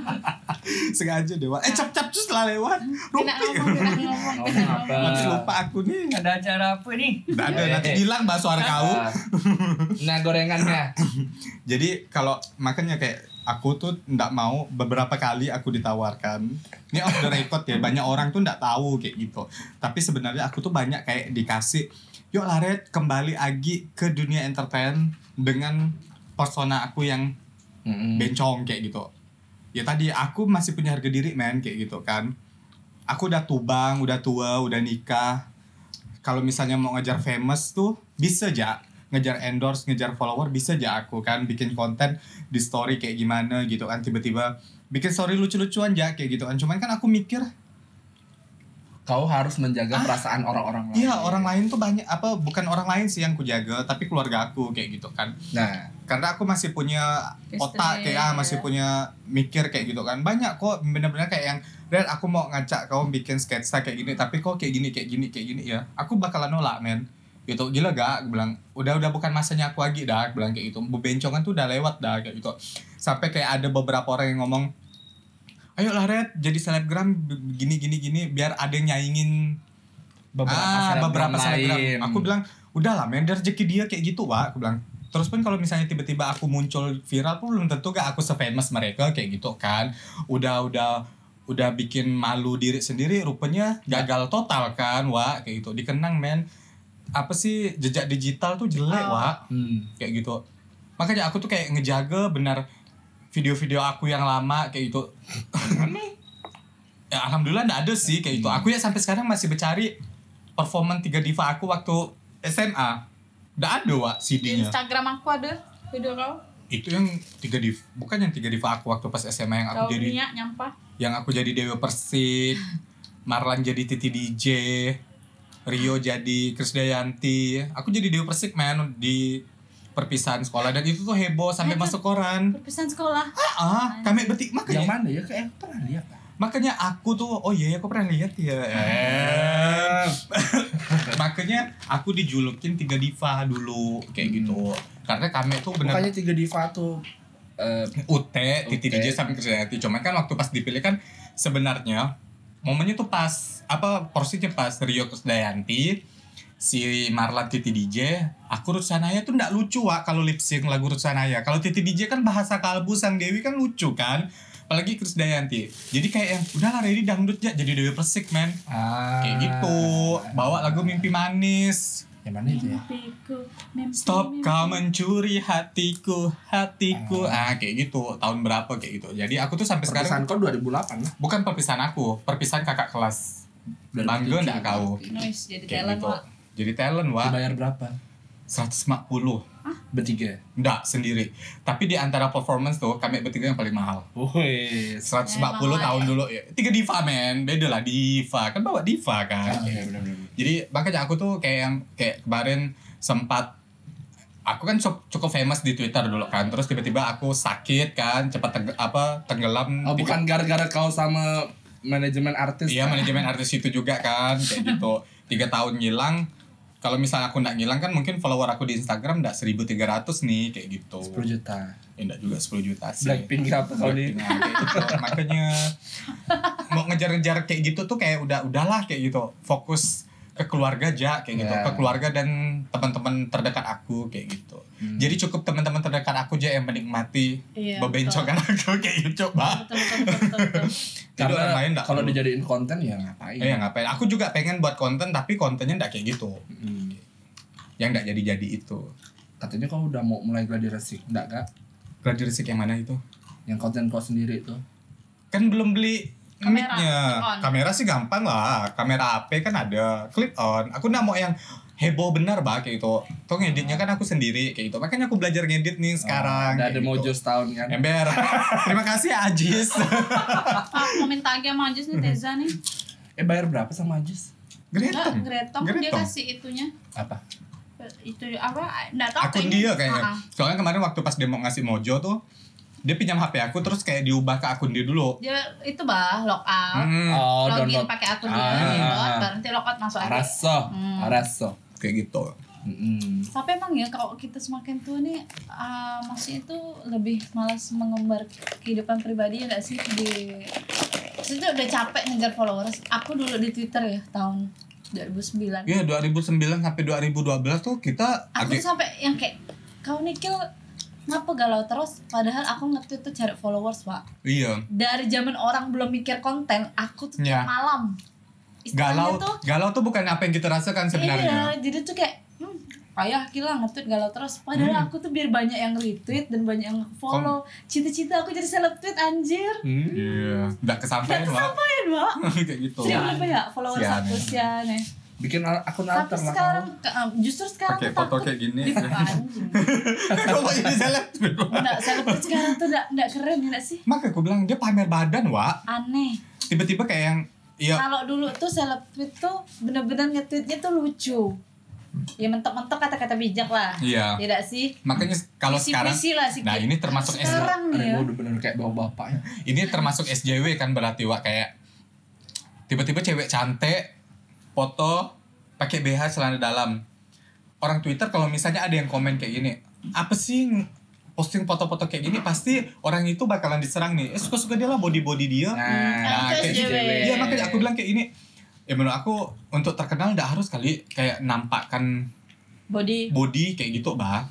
A: (laughs) sengaja dewa. Eh cap-cap cus lah lewat.
B: Ah. Kena
A: Rupi.
B: ngomong, kena ngomong,
C: Ngomong
B: kena ngomong
C: apa?
A: Nanti lupa aku nih.
D: Ada acara apa nih?
A: Nggak ada
C: Eh,
A: nanti
C: eh.
A: hilang bahas suara kau.
C: Ah. (laughs) nah gorengannya
A: Jadi kalau makanya kayak aku tuh ndak mau beberapa kali aku ditawarkan. Ini off the record ya, banyak orang tuh ndak tahu kayak gitu. Tapi sebenarnya aku tuh banyak kayak dikasih, "Yuk Laret kembali lagi ke dunia entertain dengan persona aku yang
C: Mm-mm.
A: bencong kayak gitu." Ya tadi aku masih punya harga diri men kayak gitu kan. Aku udah tubang, udah tua, udah nikah. Kalau misalnya mau ngejar famous tuh bisa aja ngejar endorse, ngejar follower bisa aja aku kan bikin konten di story kayak gimana gitu kan tiba-tiba bikin story lucu-lucuan ya kayak gitu kan cuman kan aku mikir
C: kau harus menjaga perasaan orang-orang lain.
A: ya orang lain tuh banyak apa bukan orang lain sih yang kujaga tapi keluarga aku kayak gitu kan
C: Nah,
A: karena aku masih punya otak
B: Istri,
A: kayak ah, masih
B: ya.
A: punya mikir kayak gitu kan banyak kok bener-bener kayak yang Red aku mau ngacak kau bikin sketsa kayak gini tapi kok kayak gini kayak gini kayak gini ya aku bakalan nolak men gitu gila gak aku bilang udah udah bukan masanya aku lagi dah aku bilang kayak gitu bebencongan tuh udah lewat dah kayak gitu sampai kayak ada beberapa orang yang ngomong ayo lah Red jadi selebgram b- gini gini gini biar ada yang nyaingin
C: beberapa
A: ah,
C: selebgram
A: beberapa selebgram.
C: lain.
A: Aku bilang, udahlah, men dari rezeki dia kayak gitu, Wak. Aku bilang. Terus pun kalau misalnya tiba-tiba aku muncul viral pun belum tentu gak aku se-famous mereka kayak gitu kan. Udah udah udah bikin malu diri sendiri rupanya gagal total kan, Wak. Kayak gitu. Dikenang, men. Apa sih jejak digital tuh jelek,
B: Oh.
A: Wak
C: Hmm.
A: kayak gitu makanya aku tuh kayak ngejaga benar video-video aku yang lama kayak gitu ya alhamdulillah nggak ada sih kayak gitu aku ya sampai sekarang masih bercari performan tiga diva aku waktu SMA udah ada wa
E: Di
A: CD-nya
E: Instagram aku ada video kau.
A: itu yang tiga diva bukan yang tiga diva aku waktu pas SMA yang aku
E: Kau
A: jadi
E: punya nyampah.
A: yang aku jadi Dewa Persik Marlan jadi Titi DJ Rio jadi Krisdayanti aku jadi Dewa Persik man di perpisahan sekolah dan itu tuh heboh sampai
B: Hebat.
A: masuk koran
B: perpisahan sekolah
A: ah kami betik
C: Yang
A: makanya
C: mana ya? Kayak aku pernah lihat.
A: makanya aku tuh oh iya aku pernah lihat ya
C: Ah.
A: Eh. (laughs) makanya aku dijulukin tiga diva dulu kayak gitu
C: Hmm.
A: karena kami tuh bener
C: Bukannya tiga diva tuh eh,
A: UT, Titi
C: UT.
A: DJ sampai Krisdayanti. Cuman kan waktu pas dipilih kan sebenarnya momennya tuh pas apa porsinya pas Rio Krisdayanti, si Marlan Titi DJ, aku Rutsanaya tuh ndak lucu Wak kalau lip sync lagu Rutsanaya. Kalau Titi DJ kan bahasa kalbu Sang Dewi kan lucu kan. Apalagi Krisdayanti. Jadi kayak yang udahlah ready dangdut ya jadi Dewi Persik men.
C: ah,
A: Kayak gitu. Bawa lagu Mimpi Manis.
C: Yang mana itu ya?
B: mimpiku mimpi,
A: Stop
B: mimpi.
A: kau mencuri hatiku, hatiku. Ah, kayak gitu. Tahun berapa kayak gitu. Jadi aku tuh sampai sekarang
C: Perpisahan kau 2008 lah.
A: bukan perpisahan aku, perpisahan kakak kelas. Bangga enggak kau?
B: noise jadi
A: Kayak
B: talent
A: gitu.
B: Wak.
A: Jadi talent, Wak.
C: Dibayar berapa?
A: 140.
C: Bertiga.
A: Enggak, sendiri. Tapi di antara performance tuh kami bertiga yang paling mahal.
C: Woi.
A: 140
B: Ya, emang
A: tahun
B: lah, ya.
A: dulu ya. Tiga diva, men. Beda lah diva. Kan bawa diva kan.
C: Iya benar-benar.
A: jadi makanya aku tuh kayak yang kayak kemarin sempat aku kan cukup, cukup famous di Twitter dulu kan terus tiba-tiba aku sakit kan cepat tengge- apa tenggelam
C: Oh
A: Tiga-
C: bukan gara-gara kau sama manajemen artis.
A: iya
C: kan?
A: manajemen artis itu juga kan
C: (laughs)
A: kayak gitu tiga tahun ngilang kalau misalnya aku nggak ngilang kan mungkin follower aku di Instagram nggak 1300 nih kayak gitu
C: 10 juta.
A: ya nggak juga 10 juta sih
C: Blackpink apa kau nih?
A: Nah, kayak gitu. makanya mau ngejar-ngejar kayak gitu tuh kayak udah udahlah kayak gitu fokus ke keluarga aja kayak gitu
C: Ya.
A: ke keluarga dan teman-teman terdekat aku kayak gitu
C: Hmm.
A: jadi cukup teman-teman terdekat aku aja yang menikmati
E: Iya,
A: bebencokan aku (laughs) kayak gitu coba
E: Betul, betul, betul, betul.
A: jadi orang lain
C: Karena
A: nggak
C: kalau
A: perlu.
C: dijadiin konten ya ngapain?
A: Iya ngapain aku juga pengen buat konten tapi kontennya nggak kayak gitu
C: Hmm.
A: yang nggak jadi-jadi itu
C: Katanya kau udah mau mulai gladiresik, enggak kak?
A: graduasi yang mana itu
C: Yang konten kau sendiri itu.
A: kan belum beli
E: Kamera,
A: mic-nya.
E: clip on.
A: Kamera sih gampang lah. Kamera HP kan ada, clip on. Aku nggak mau yang heboh benar bah kayak gitu. Tuh ngeditnya kan aku sendiri kayak gitu. Makanya aku belajar ngedit nih sekarang.
C: Udah
A: kayak
C: ada
A: gitu.
C: mojo setahun kan?
A: Ember. (laughs) Terima kasih Ajis.
B: Ah,
E: Aku mau minta lagi sama Ajis nih Teza nih.
C: Eh bayar berapa sama Ajis?
E: Enggak,
A: Greteng.
E: Gretong dia
A: Gretong.
E: kasih itunya.
C: Apa?
E: Itu apa? Enggak tahu
A: Akun
E: kayaknya.
A: dia kayaknya.
E: Ah, ah.
A: Soalnya kemarin waktu pas demo ngasih mojo tuh dia pinjam HP aku terus kayak diubah ke akun dia dulu.
E: Dia itu bah lockout.
A: Hmm,
C: Oh,
E: Login
C: download.
E: pakai akun
C: Ah,
E: dia,
C: ah,
E: download,
C: ah.
E: baru nanti lockout masuk aja.
C: Araso,
E: Hmm.
C: araso.
A: kayak gitu.
C: Mm-mm.
B: tapi emang ya kalau kita semakin tua nih ah, masih itu lebih malas mengembar kehidupan pribadi ya gak sih di maksudnya udah capek ngejar followers aku dulu di twitter ya tahun 2009
A: Iya 2009 sampai 2012 tuh kita
B: aku tuh
A: agak
B: sampai yang kayak kau nikil ngapa galau terus padahal aku nge-tweet tuh cari followers pak
A: iya
B: dari zaman orang belum mikir konten aku tuh tiap
C: Iya.
A: Ya.
B: malam
A: galau
B: tuh
A: galau tuh bukan apa yang kita rasakan sebenarnya
B: iya jadi tuh kayak hmm, payah gila nge-tweet galau terus padahal
A: Hmm.
B: aku tuh biar banyak yang retweet dan banyak yang follow cita-cita aku jadi seleb tweet anjir
A: iya nggak kesampaian
B: Nggak
A: lah
B: keren pak
A: (laughs) kayak gitu
B: jadi berapa ya followers
A: Sian.
B: aku sian ya
C: Bikin al- akun
B: tapi
C: alter lah
B: sekarang
C: kau.
B: ke- um, justru sekarang
A: pakai
B: tuh
A: foto
B: takut
A: kayak
B: (laughs)
A: gini (laughs)
B: Ih, anjing.
A: kok mau jadi seleb
B: Nggak, seleb tweet sekarang tuh nggak nggak keren ya nggak sih
A: makanya aku bilang dia pamer badan wa
B: aneh
A: tiba-tiba kayak yang iya
B: kalau dulu tuh seleb tweet tuh bener-bener nge-tweetnya tuh lucu ya mentok-mentok kata-kata bijak lah
A: iya
B: tidak sih
A: makanya kalau sekarang
B: Puisi-puisi lah sih
A: nah ini termasuk S
B: sekarang nih ya
C: Aduh, udah bener kayak bawa bapak ya.
A: ini termasuk SJW kan berarti wa kayak tiba-tiba cewek cantik foto pakai BH celana dalam orang Twitter kalau misalnya ada yang komen kayak gini apa sih ng- posting foto-foto kayak gini pasti orang itu bakalan diserang nih eh, suka-suka dia lah body-body dia
C: Nah,
E: Nah,
A: kayak-
E: SJW.
A: Iya makanya aku bilang kayak ini Ya menurut aku untuk terkenal nggak harus kali kayak nampakkan
B: body
A: body kayak gitu bah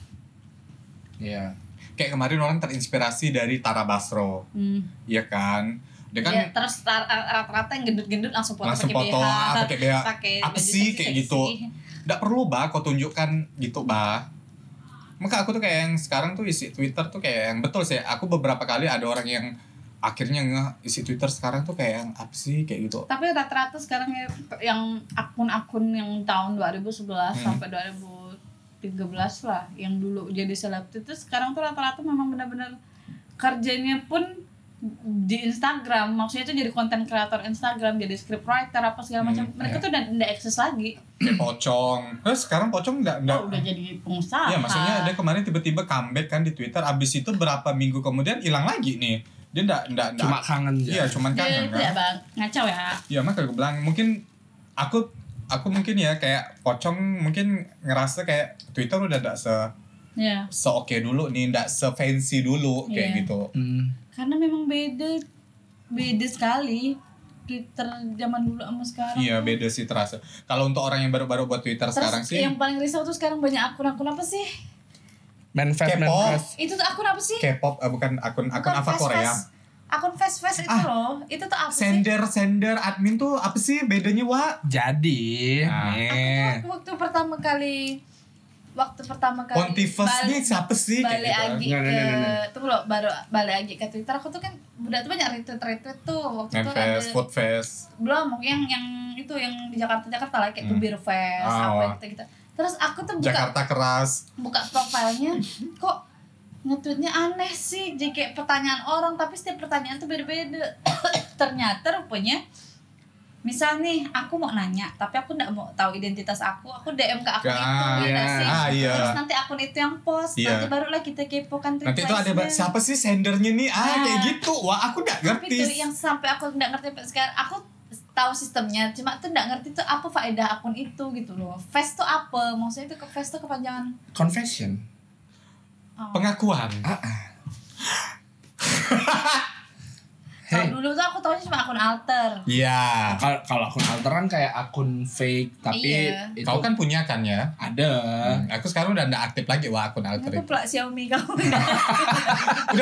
C: Iya.
A: Kayak kemarin orang terinspirasi dari Tara Basro
B: hmm.
A: Iya kan Dia kan
B: ya, terus tar- rata-rata yang gendut-gendut langsung foto
A: langsung
B: pakai
A: foto
B: BH
A: ah, pakai BH
B: pakai
A: Apa
B: baju
A: sih kayak
B: seksi-seksi.
A: gitu? Nggak perlu bah kau tunjukkan gitu bah Maka aku tuh kayak yang sekarang tuh isi Twitter tuh kayak yang betul sih Aku beberapa kali ada orang yang akhirnya ngeh isi Twitter sekarang tuh kayak yang apa sih kayak gitu.
B: Tapi rata-rata sekarang ya, yang akun-akun yang tahun 2011
A: Hmm.
B: sampai 2013 lah yang dulu jadi seleb itu sekarang tuh rata-rata memang benar-benar kerjanya pun di Instagram maksudnya tuh jadi konten kreator Instagram jadi script writer apa segala macam
A: Hmm, iya.
B: mereka tuh udah nggak eksis lagi
A: Kayak pocong. Terus sekarang pocong enggak enggak
B: oh, udah Nah. jadi pengusaha
A: Iya maksudnya dia kemarin tiba-tiba comeback kan di Twitter abis itu berapa minggu kemudian hilang lagi nih dia ndak ndak ndak-
C: Cuma kangen
A: iya
C: aja.
A: cuman
B: Dia
A: kangen
B: itu
A: kan
B: ya bang ngacau ya
A: iya makanya gue bilang mungkin aku aku mungkin ya kayak pocong mungkin ngerasa kayak Twitter udah ndak se
B: ya
A: se oke dulu nih ndak se fancy dulu kayak
B: Iya.
A: gitu
C: Hmm.
B: karena memang beda beda sekali Twitter zaman dulu sama sekarang
A: iya beda sih terasa kalau untuk orang yang baru-baru buat Twitter
B: Terus
A: sekarang sih
B: yang paling risau tuh sekarang banyak akun-akun apa sih?
C: Man fat, man
A: Kepo.
C: fast.
B: Itu tuh akun apa sih?
A: K-pop eh, bukan akun akun
B: Bukan
A: apa
B: fast-fast.
A: Korea
B: Akun fast-fast itu
A: Ah.
B: loh. Itu tuh apa sih?
A: sender sender admin tuh apa sih bedanya Wak?
C: Jadi,
A: Ah.
C: nih,
B: Aku tuh waktu pertama kali waktu pertama kali
A: Pontifest
B: bal-
A: nih siapa sih kayak
B: balik
A: gitu.
B: lagi
C: Nggak,
B: ke
C: nggak, nggak,
B: tunggu loh baru balik lagi ke Twitter aku tuh kan udah tuh banyak retweet retweet tuh waktu itu kan ada
A: Manfest, Foodfest
B: belum yang yang itu yang di Jakarta Jakarta lah kayak
A: Hmm.
B: tuh Beer Fest
A: Ah, wah.
B: apa gitu gitu terus aku tuh buka
A: Jakarta keras
B: buka profilnya kok nge-tweetnya aneh sih jadi kayak pertanyaan orang tapi setiap pertanyaan tuh beda-beda (coughs) ternyata rupanya misal nih aku mau nanya tapi aku nggak mau tahu identitas aku aku DM ke akun itu
A: Ah,
B: ya nggak
C: iya.
B: sih
A: ah
B: terus
A: iya
B: nanti akun itu yang post
A: Iya.
B: nanti barulah kita kepo kan
A: nanti itu ada ba-
B: replies-nya.
A: siapa sih sendernya nih ah,
B: Ah.
A: kayak gitu wah aku nggak
B: tapi
A: ngerti
B: tuh yang sampai aku nggak ngerti sampai sekarang aku tahu sistemnya cuma tuh nggak ngerti tuh apa faedah akun itu gitu loh face tuh apa maksudnya itu ke face tuh kepanjangan
C: confession.
B: oh.
A: pengakuan
B: Kalau
C: Hey.
B: dulu tuh aku tahunya cuma akun alter
A: iya
C: Kalau kalau akun alter kan kayak akun fake, tapi
B: Iya.
C: itu
A: kau kan punya kan ya
C: ada.
A: Hmm, aku sekarang udah nggak aktif lagi wah akun alter
B: Aku
A: itu. Nah.
B: pelak Xiaomi
A: (laughs)
B: kamu.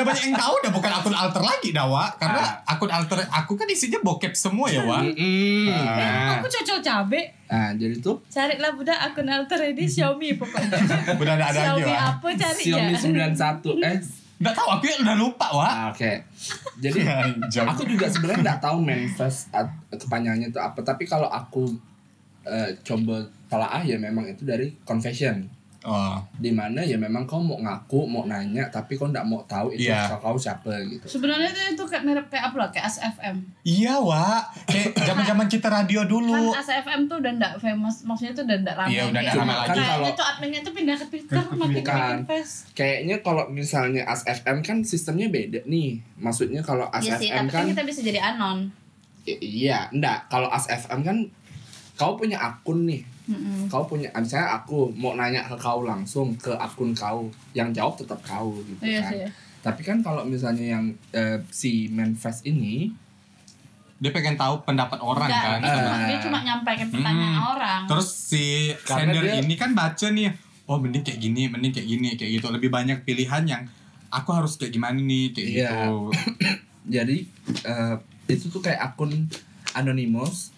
A: udah banyak yang tahu udah bukan akun alter lagi dah Wak. karena
B: Ah.
A: akun alter aku kan isinya bokep semua ya
B: (laughs)
A: wah
C: Mm-mm.
B: aku cocok cabe.
C: Nah, Ah. jadi tuh
B: Carilah budak akun alter
A: (laughs)
B: ini Xiaomi pokoknya.
A: udah nggak ada lagi
B: Xiaomi
A: wah
B: apa cari
C: Xiaomi
B: ya?
C: 91 eh
A: nggak tahu aku ya udah lupa wah
C: ah, oke.
A: (laughs)
C: Jadi
B: Iya,
C: aku juga sebenarnya nggak tahu manifest at- kepanjangannya itu apa, tapi kalau aku eh, coba telaah ya memang itu dari confession.
A: oh
C: di mana ya memang kau mau ngaku mau nanya tapi kau nggak mau tahu itu
A: Iya.
C: kau siapa gitu
B: Sebenarnya itu, itu kayak mirip kayak apa lah kayak SFM.
A: iya wah
B: (laughs)
A: kayak zaman zaman kita radio
B: Kan
A: dulu
B: SFM tuh udah ndak famous, maksudnya tuh udah ndak ramai.
A: Iya, udah ndak
B: kayak- gitu.
C: ramai lagi.
B: Kayaknya
C: Kalau-
B: tuh adminnya tuh pindah ke Twitter makin ke
C: Bukan.
B: Face.
C: kayaknya kalau misalnya ASFM kan sistemnya beda nih maksudnya kalau
B: Iya sih,
C: ASFM
B: tapi
C: kan
B: kan kita bisa jadi anon.
C: i- iya enggak kalau ASFM kan kau punya akun nih kau punya misalnya aku mau nanya ke kau langsung ke akun kau yang jawab tetap kau gitu
B: Iya
C: kan
B: sih.
C: tapi kan kalau misalnya yang eh, si manifest ini
A: dia pengen tahu pendapat orang
B: Nggak,
A: kan
B: dia cuma,
C: Eh.
B: dia cuma nyampaikan pertanyaan
A: Hmm.
B: orang.
A: Terus si
C: Karena
A: sender
C: dia-
A: ini kan baca nih, oh mending kayak gini, mending kayak gini, kayak gitu. Lebih banyak pilihan yang aku harus kayak gimana nih, kayak
C: Iya.
A: gitu.
C: jadi eh, itu tuh kayak akun anonymous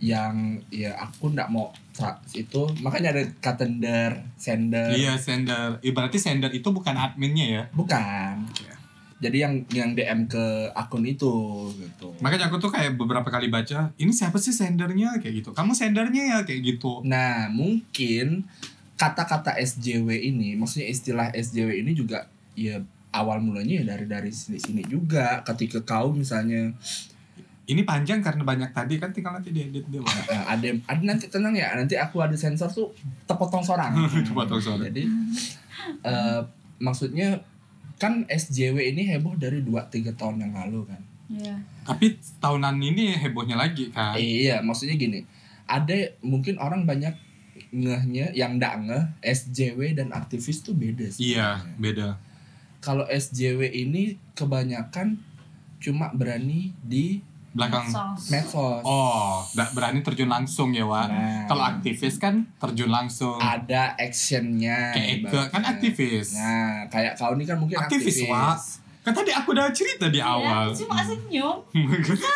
C: yang ya aku nggak mau tra- itu makanya ada katender sender
A: iya sender. Ih, Berarti sender itu bukan adminnya ya.
C: bukan
A: Iya.
C: jadi yang yang dm ke akun itu gitu
A: Makanya aku tuh kayak beberapa kali baca, ini siapa sih sendernya kayak gitu. Kamu sendernya ya kayak gitu.
C: nah mungkin kata-kata sjw ini maksudnya istilah sjw ini juga ya awal mulanya ya dari dari sini sini juga ketika kau misalnya
A: Ini panjang karena banyak tadi kan tinggal nanti diedit dia. Wak.
C: eh, ada ada nanti tenang ya nanti aku ada sensor tuh tepotong sorang
A: (laughs) Tepotong sorang.
C: jadi eh, maksudnya kan SJW ini heboh dari 2-3 tahun yang lalu kan
B: Iya.
A: Tapi tahunan ini hebohnya lagi kan.
C: iya maksudnya gini ada mungkin orang banyak ngehnya yang ndak ngeh SJW dan aktivis tuh beda sih
A: Iya, beda.
C: kalau SJW ini kebanyakan cuma berani di
A: Belakang.
B: Medsos.
C: medsos
A: Oh, nggak berani terjun langsung ya, Wak.
C: Nah,
A: Kalau aktivis kan terjun langsung.
C: ada actionnya
A: Kayak Eke,
C: ibaratnya.
A: kan aktivis.
C: nah kayak kau ini kan mungkin
A: Aktivis,
C: aktivis,
A: Wak. Kan tadi aku udah cerita di awal.
B: Iya,
A: (laughs)
B: Cuma
C: Mm.
B: senyum.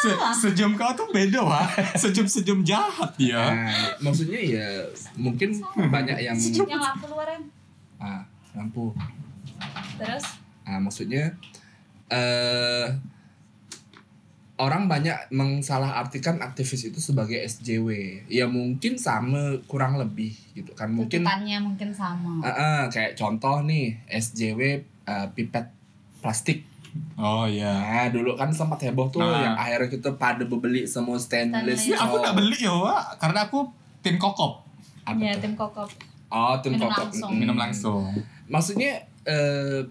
A: Se sejam kau tuh beda, Wak. Sejam-sejam jahat dia.
C: Nah, maksudnya ya mungkin
A: Hmm.
C: banyak yang
B: Yang lampu luaran.
C: ah lampu
B: Terus
C: ah maksudnya eh orang banyak mengsalah-artikan aktivis itu sebagai SJW. Ya mungkin sama kurang lebih gitu kan. Mungkin
B: tuntutannya mungkin sama
C: Ah, ah, kayak contoh nih SJW eh, pipet plastik.
A: Oh iya.
C: Nah, dulu kan sempat heboh tuh
A: Ah.
C: yang akhirnya kita pada beli semua stainless.
A: Ya, aku
C: Oh,
A: tak beli ya, Wak. Karena aku tim kokop,
C: apa
B: ya
C: tuh?
B: tim kokop
C: Oh, tim
B: Minum
C: kokop.
B: langsung.
C: Mm.
A: minum langsung.
C: Maksudnya eh,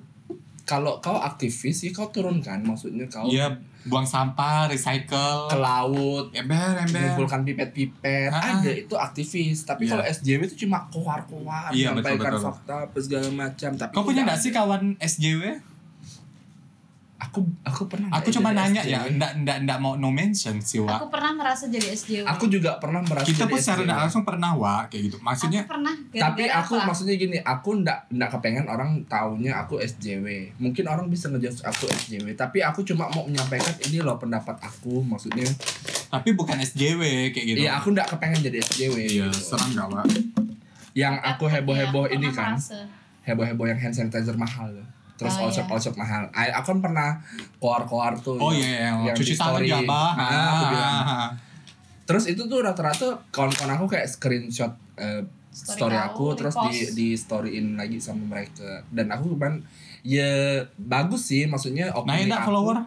C: kalau kau aktivis ya kau turunkan maksudnya kau
A: Iya, buang sampah, recycle,
C: ke laut
A: ember, ember.
C: mengumpulkan pipet-pipet
A: Ah, ah.
C: ada itu aktivis tapi
A: Iya.
C: kalau SJW itu cuma keluar-keluar
A: Iya,
C: menyampaikan
A: betul-betul.
C: fakta apa segala macam tapi
A: Kau punya
C: tidak-
A: nggak sih kawan SJW?
C: aku aku pernah
A: Aku
C: nggak
A: cuma
C: jadi
A: nanya
C: SJW?
A: ya, ndak ndak ndak mau no mention sih, Wak.
B: aku pernah merasa jadi SJW
C: aku juga pernah merasa
A: Kita
C: jadi
A: pun secara
C: SJW.
A: nggak langsung pernah, Wak, kayak gitu.
B: aku
A: Maksudnya
B: pernah
C: tapi
B: gara-gara
C: aku
B: apa?
C: maksudnya gini aku ndak ndak kepengen orang taunya aku SJW mungkin orang bisa ngejudge aku SJW tapi aku cuma mau menyampaikan ini loh pendapat aku maksudnya
A: tapi bukan SJW kayak gitu.
C: iya aku ndak kepengen jadi SJW
A: Iya,
C: gitu.
A: serang nggak, Wak?
C: yang aku
B: Iya,
C: heboh-heboh
B: aku
C: ini
B: pernah
C: kan
B: merasa.
C: heboh-heboh yang hand sanitizer mahal loh. terus
B: Oh,
C: all shop
B: iya.
C: all shop mahal I- aku kan pernah keluar-keluar tuh
A: Oh
C: ya.
A: iya, yang
C: Yang
A: cuci
C: di
A: tangan
C: story.
A: jabah.
C: Ah, aku bilang. terus itu tuh rata-rata kawan-kawan aku kayak screenshot eh,
B: Story
C: story,
B: kau,
C: aku terus di
B: repost.
C: di storyin lagi sama mereka dan aku cuman ya bagus sih maksudnya
A: Naik nggak Nah, follower?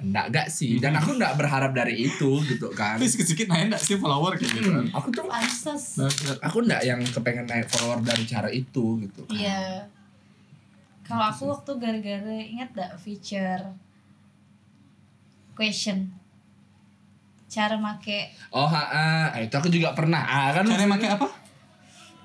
C: enggak enggak sih dan aku enggak berharap dari itu gitu kan
A: Tapi sedikit naik nggak sih follower kayak gitu? Nah,
C: Hmm, aku tuh
B: Pantes.
C: aku enggak yang kepengen naik follower dari cara itu gitu kan.
B: Iya. Kalau aku waktu gara-gara ingat gak feature question cara make
C: oh ha, ah, itu aku juga pernah ah, kan
A: Cara pakai apa?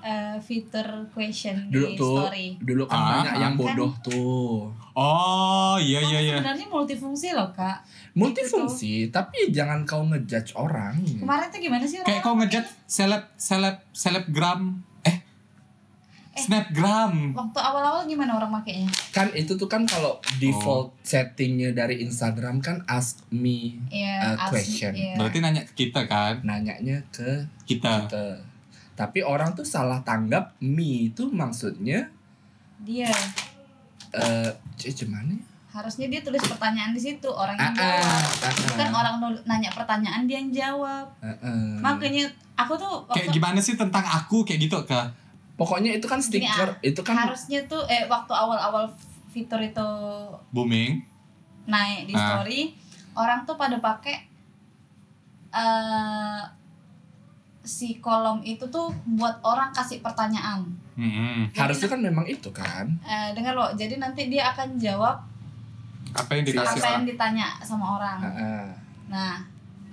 B: eh, fitur question
C: dulu
B: di
C: tuh
B: story.
C: dulu kan
A: Ah,
C: banyak yang
A: ah, kan.
C: bodoh tuh
A: Oh iya iya
B: Kan
A: iya.
B: Sebenarnya multifungsi loh kak.
C: multifungsi
B: Gitu.
C: tapi jangan kau ngejudge orang
B: Kemarin tuh gimana sih?
A: Kayak kau
B: orang
A: ngejat seleb seleb selebgram eh, snapgram.
B: Waktu awal-awal gimana orang makainya?
C: kan itu tuh kan kalau default settingnya dari Instagram kan ask me Eh,
B: Iya. ask-
C: question.
B: iya.
A: Berarti nanya ke kita kan?
C: nanyanya ke
A: Kita.
C: kita tapi orang tuh salah tanggap me itu maksudnya
B: Dia
C: eh c- gimana ya?
B: harusnya dia tulis pertanyaan di situ orang
C: Ah,
B: yang
C: ah,
B: jawab.
C: ah,
B: Bukan
C: ah,
B: kan orang nul- nanya pertanyaan dia yang jawab.
C: ah, ah.
B: Makanya aku tuh waktu
A: Kayak gimana sih tentang aku kayak gitu ke?
C: pokoknya itu kan
B: Gini,
C: stiker itu kan
B: harusnya tuh eh waktu awal-awal fitur itu
A: Booming.
B: naik di
A: Ah.
B: story orang tuh pada pakai eh si kolom itu tuh buat orang kasih pertanyaan
A: Mm-mm.
C: harusnya kan memang itu kan
B: eh dengar lo jadi nanti dia akan jawab
A: Apa yang
C: Kasih
B: apa
A: dikasih
B: yang
A: orang?
B: ditanya sama orang
C: Iya Ah, ah.
B: nah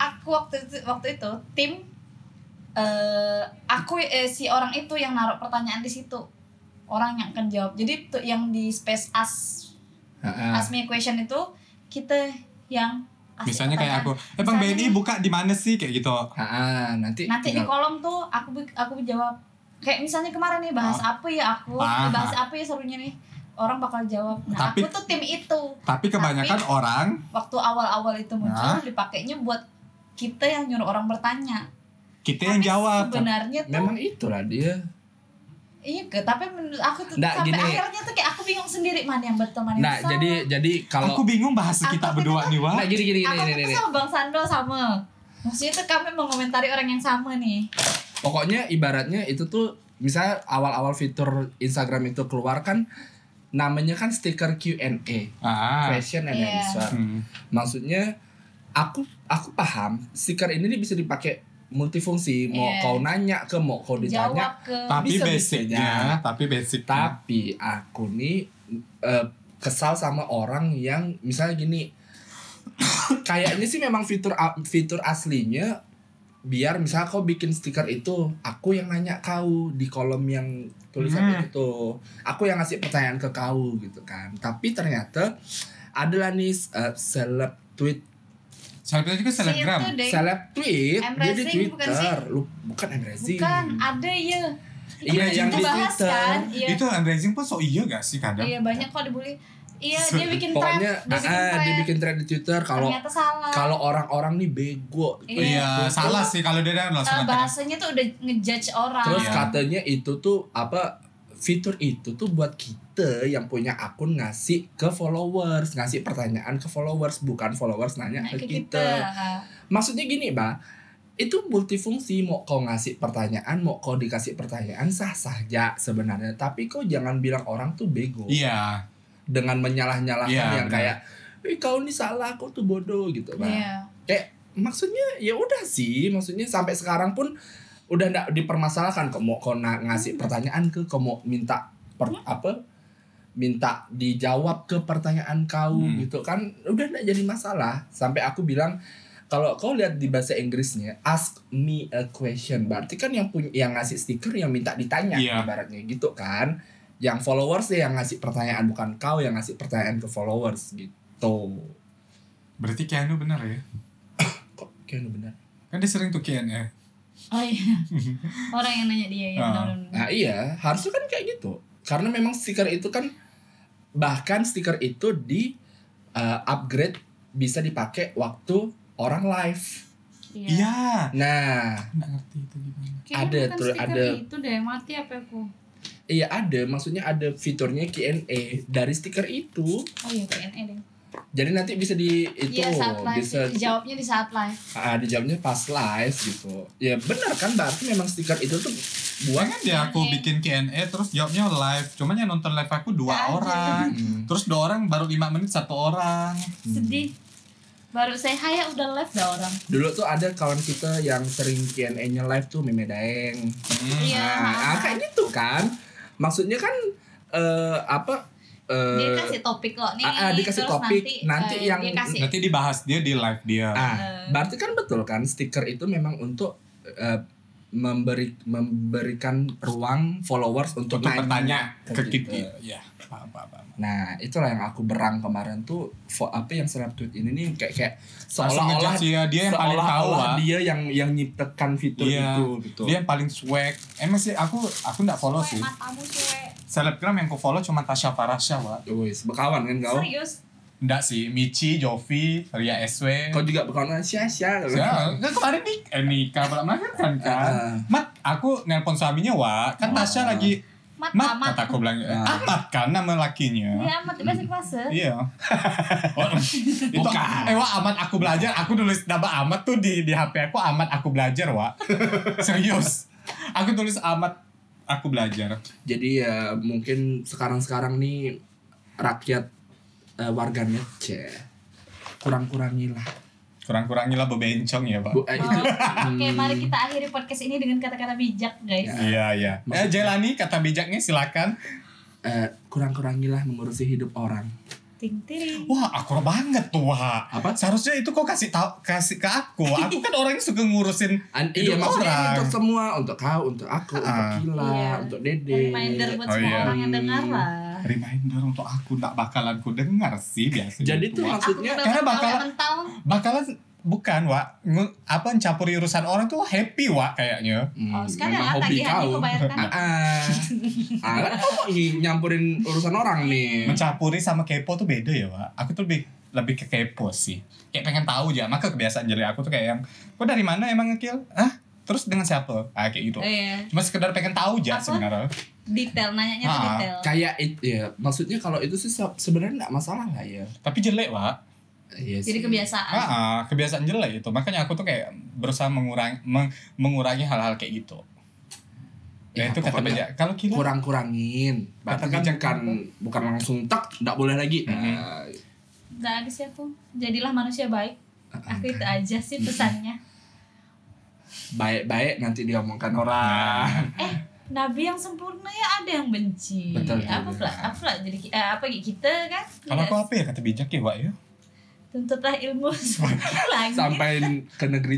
B: aku waktu itu, waktu itu tim eh aku eh, si orang itu yang naruh pertanyaan di situ orang yang akan jawab jadi tuh yang di space as
A: Nah.
C: Ah, ah.
B: ask me a question itu kita yang kasih
A: Misalnya kayak
B: pertanyaan.
A: aku, eh bang
B: Misalnya
A: BNI
B: nih.
A: buka di mana sih kayak gitu?
C: Ah, ah, nanti
B: nanti
A: Iya.
B: di
C: tinggal-
B: kolom tuh aku bi- aku jawab kayak misalnya kemarin nih bahas apa ya aku
A: Ah.
B: bahas apa ya serunya nih orang bakal jawab nah
A: Tapi-
B: aku tuh tim itu
A: Tapi kebanyakan orang
B: waktu awal-awal itu muncul
A: Nah.
B: dipakainya buat kita yang nyuruh orang bertanya
A: kita yang
B: Tapi
A: jawab.
B: sebenarnya tuh
C: memang itulah dia
B: iya ke- tapi menurut aku tuh
C: Nggak,
B: sampai
C: gini.
B: akhirnya tuh kayak aku bingung sendiri mana yang betul mana yang
C: nah
B: salah
C: jadi jadi kalau
A: Aku bingung bahas
B: Aku
A: kita
B: tuh kan
A: berdua nih, Wak.
C: Nah, gini gini gini
B: aku
C: gini,
B: tuh
C: gini.
B: sama bang Sando sama maksudnya tuh kami mengomentari orang yang sama nih
C: Pokoknya ibaratnya itu tuh misalnya awal-awal fitur Instagram itu keluar kan namanya kan stiker Q&A,
A: Ah.
C: question and
B: Iya.
C: answer.
A: Hmm.
C: Maksudnya aku aku paham stiker ini nih bisa dipakai multifungsi, mau
B: Iya.
C: kau nanya ke mau kau ditanya.
B: jawab ke
A: Tapi
C: Bisa-bisa
A: basicnya, tapi basic.
C: Tapi aku nih eh, kesal sama orang yang misalnya gini kayaknya sih memang fitur a- fitur aslinya biar misalnya kau bikin stiker itu aku yang nanya kau di kolom yang tulisan
A: Hmm.
C: itu tuh aku yang ngasih pertanyaan ke kau gitu kan tapi ternyata adalah nih eh, seleb tweet
A: Selebgram juga
B: Si
A: selebgram.
B: itu deh.
C: seleb tweet dia di
B: Embarrassing, bukan sih?
C: Twitter Lu- bukan embarrassing
B: bukan ada ya
C: iya
A: Embarrassing
C: yang
B: kita
C: di
B: bahas kan
C: Twitter
B: iya
A: Itu fundraising pun so iya gak sih kadang?
B: iya banyak kok dibully iya dia bikin trend
C: pokoknya
B: dia bikin
C: ah, dia
B: trend
C: bikin trend di Twitter kalau
B: ternyata salah
C: kalau orang-orang nih bego
B: Iya.
A: Iya,
C: Terus-
A: salah sih kalau dia ada
B: Eh,
A: langsung.
B: bahasanya tuh udah ngejudge orang
C: terus
A: Iya.
C: katanya itu tuh apa fitur itu tuh buat kita yang punya akun ngasih ke followers, ngasih pertanyaan ke followers, bukan followers nanya
B: Nah,
C: ke,
B: ke
C: kita. Maksudnya gini, Mbak. Itu multifungsi, mau kau ngasih pertanyaan, mau kau dikasih pertanyaan sah-sah aja sebenarnya. Tapi kau jangan bilang orang tuh bego
A: Iya,
C: dengan menyalah-nyalahkan
A: Iya,
C: yang
A: benar.
C: kayak "Ih, kau ini salah, kau tuh bodoh gitu, Mbak.
B: Iya.
C: maksudnya ya udah sih maksudnya sampai sekarang pun udah ndak dipermasalahkan kok mau kau na-
A: Hmm.
C: ngasih pertanyaan ke kau mau minta per, apa minta dijawab ke pertanyaan kau
A: Hmm.
C: gitu kan udah ndak jadi masalah sampai aku bilang kalau kau lihat di bahasa Inggrisnya ask me a question berarti kan yang punya yang ngasih stiker yang minta ditanya
A: Iya.
C: ibaratnya gitu kan yang followers ya yang ngasih pertanyaan bukan kau yang ngasih pertanyaan ke followers gitu
A: berarti Keanu benar ya?
C: kok kayaknya benar
A: Kan dia sering tuh Keanu ya.
B: Oh
C: (laughs)
B: iya. Orang yang nanya dia ya.
A: Ah.
B: benar-benar.
C: Nah iya, harusnya kan kayak gitu. Karena memang stiker itu kan bahkan stiker itu di uh, upgrade bisa dipakai waktu orang live.
B: Iya.
A: Iya.
C: Nah,
A: Nggak ngerti itu gimana.
B: Kayaknya
C: Ada
B: bukan
C: tuh,
B: stiker
C: ada.
B: itu deh mati apa aku?
C: iya ada, maksudnya ada fiturnya Q&A dari stiker itu.
B: Oh iya KNE deh.
C: Jadi nanti bisa di itu
B: Iya saat live.
C: bisa
B: Jawabnya di saat live.
C: ah, dijawabnya pas live gitu. Ya benar kan berarti memang stiker itu tuh buat
A: Kan dia
B: Iya.
A: aku bikin Q&A terus jawabnya live. Cuman yang nonton live aku dua
B: Nggak ada.
A: orang.
C: Hmm.
A: Terus dua orang baru lima menit satu orang.
B: Sedih. Baru saya haya udah live dah orang.
C: Dulu tuh ada kawan kita yang sering Q&A-nya live tuh Meme Daeng.
A: Hmm.
B: Iya.
C: Nah, ah, kayak gitu kan. Maksudnya kan eh apa eh,
B: Dia kasih topik loh nih.
C: ah, ah, dikasih
B: terus
C: topik, nanti
B: eh,
C: yang-
B: dia kasih.
A: Nanti dibahas dia di live dia.
C: ah,
B: eh,
C: berarti kan betul kan stiker itu memang untuk eh, memberi memberikan ruang followers untuk
A: Untuk
C: nanya
A: bertanya ke
C: gitu.
A: kita. Iya. Paham, paham, paham.
C: Nah, itulah yang aku berang kemarin tuh fo- apa yang seleb tweet ini nih kayak kayak
A: Langsung
C: seolah-olah
A: ngejudge dia, dia yang paling tahu
C: seolah-olah
A: ah.
C: dia yang yang nyiptakan fitur
A: Iya.
C: itu gitu.
A: Dia yang paling swag. Emang sih aku aku nggak follow
B: "Weh,
A: sih.
B: Matamu cuek.
A: Selebgram yang aku follow cuma Tasya Farasya, Wak.
C: Wis, berkawan kan kau?
B: Serius.
A: Enggak sih, Michi, Jovi, Ria SW.
C: Kau juga berkawan sia sia.
A: Ya, kan kemarin nik eh, nikah pernah melahirkan
C: (laughs)
A: kan.
C: Ah.
A: Mat, aku nelpon suaminya, Wak. Kan Tasya
C: Ah.
A: lagi
B: Mat,
A: Mat,
B: amat.
A: kata aku bilang,
C: Ah.
A: amat kan nama lakinya.
B: Iya, amat bahasa Inggrisnya.
C: (laughs)
A: Iya. Oh, itu
C: Bukan.
A: eh Wak, amat aku belajar, aku nulis nama amat tuh di di HP aku amat aku belajar,
C: (laughs)
A: Wak. Serius. Aku tulis amat aku belajar.
C: Jadi ya mungkin sekarang-sekarang nih rakyat eh, warganet ceh kurang-kurangilah.
A: Kurang-kurangilah bebencong ya, Pak.
C: Bu, eh, itu,
B: Oh, Oke,
C: hmm,
B: mari kita akhiri podcast ini dengan kata-kata bijak, guys.
C: Ya.
A: Iya, iya. Eh,
C: Maksudnya-
A: Jelani kata bijaknya silakan.
C: eh, kurang-kurangilah mengurusi hidup orang.
B: Ting tiring.
A: Wah, akur banget tuh, Wak.
C: Apa?
A: Seharusnya itu kok kasih tahu kasih ke
C: (laughs)
A: aku. Aku kan orangnya suka ngurusin
C: An-
A: Hidup
C: iya maksudnya ini
A: orang.
C: untuk semua, untuk kau, untuk aku, untuk
A: Ah.
C: Kila,
B: Iya.
C: untuk Dede.
B: Reminder buat
A: Oh,
B: semua
A: iya.
B: orang yang dengar lah.
A: reminder untuk aku nggak bakalan ku dengar sih biasanya.
C: Jadi tuh
A: Wak.
C: maksudnya
B: aku
A: karena
B: karena bakal
A: bakal-
B: mental
A: bakalan bukan, Wak. Nge- apa mencampuri urusan orang tuh happy, Wak kayaknya.
C: hmm,
B: Oh, sekarang
C: memang
B: ya,
C: hobi
B: tagihannya
C: kau.
B: kau bayarkan.
C: Ah, ah. Ah, kan kau mau ny- nyampurin urusan orang nih.
A: Mencampuri sama kepo tuh beda ya, Wak. Aku tuh lebih lebih ke kepo sih. Kayak pengen tahu aja. Maka kebiasaan jelek aku tuh kayak yang, "Kok dari mana emang ngekil?" Hah? Terus dengan siapa? Ah, kayak
C: Eh.
A: gitu.
B: Iya.
A: Cuma sekedar pengen tahu aja
B: Apa?
A: sebenarnya.
B: detail nanyanya tuh
A: Ah,
B: detail.
C: Kayak itu ya, maksudnya kalau itu sih se- sebenarnya nggak masalah lah ya.
A: Tapi jelek, Wak.
C: Iya sih.
B: Jadi kebiasaan.
A: Ah, ah, kebiasaan jelek itu. Makanya aku tuh kayak berusaha mengurangi meng- mengurangi hal-hal kayak gitu. Ya,
C: Ya,
A: itu kata
C: pokoknya
A: bijak. Kalau kita
C: kurang-kurangin berarti
A: Iya. Katakan
C: kan bukan, bukan langsung tak nggak boleh lagi
A: Mhm.
C: Nah,
B: Enggak ada sih aku. Jadilah manusia baik. Aku itu aja sih pesannya.
C: baik-baik nanti diomongkan orang
B: Nabi yang sempurna ya ada yang benci.
C: Betul
B: apa
C: juga.
B: pula? Apa pula jadi ki- eh, apa kita kan?
A: kalau
B: Tidak-
A: aku apa ya kata bijak ya, Wak ya?
B: tuntutlah ilmu
A: Nah.
C: (laughs)
B: lagi.
C: sampai ke negeri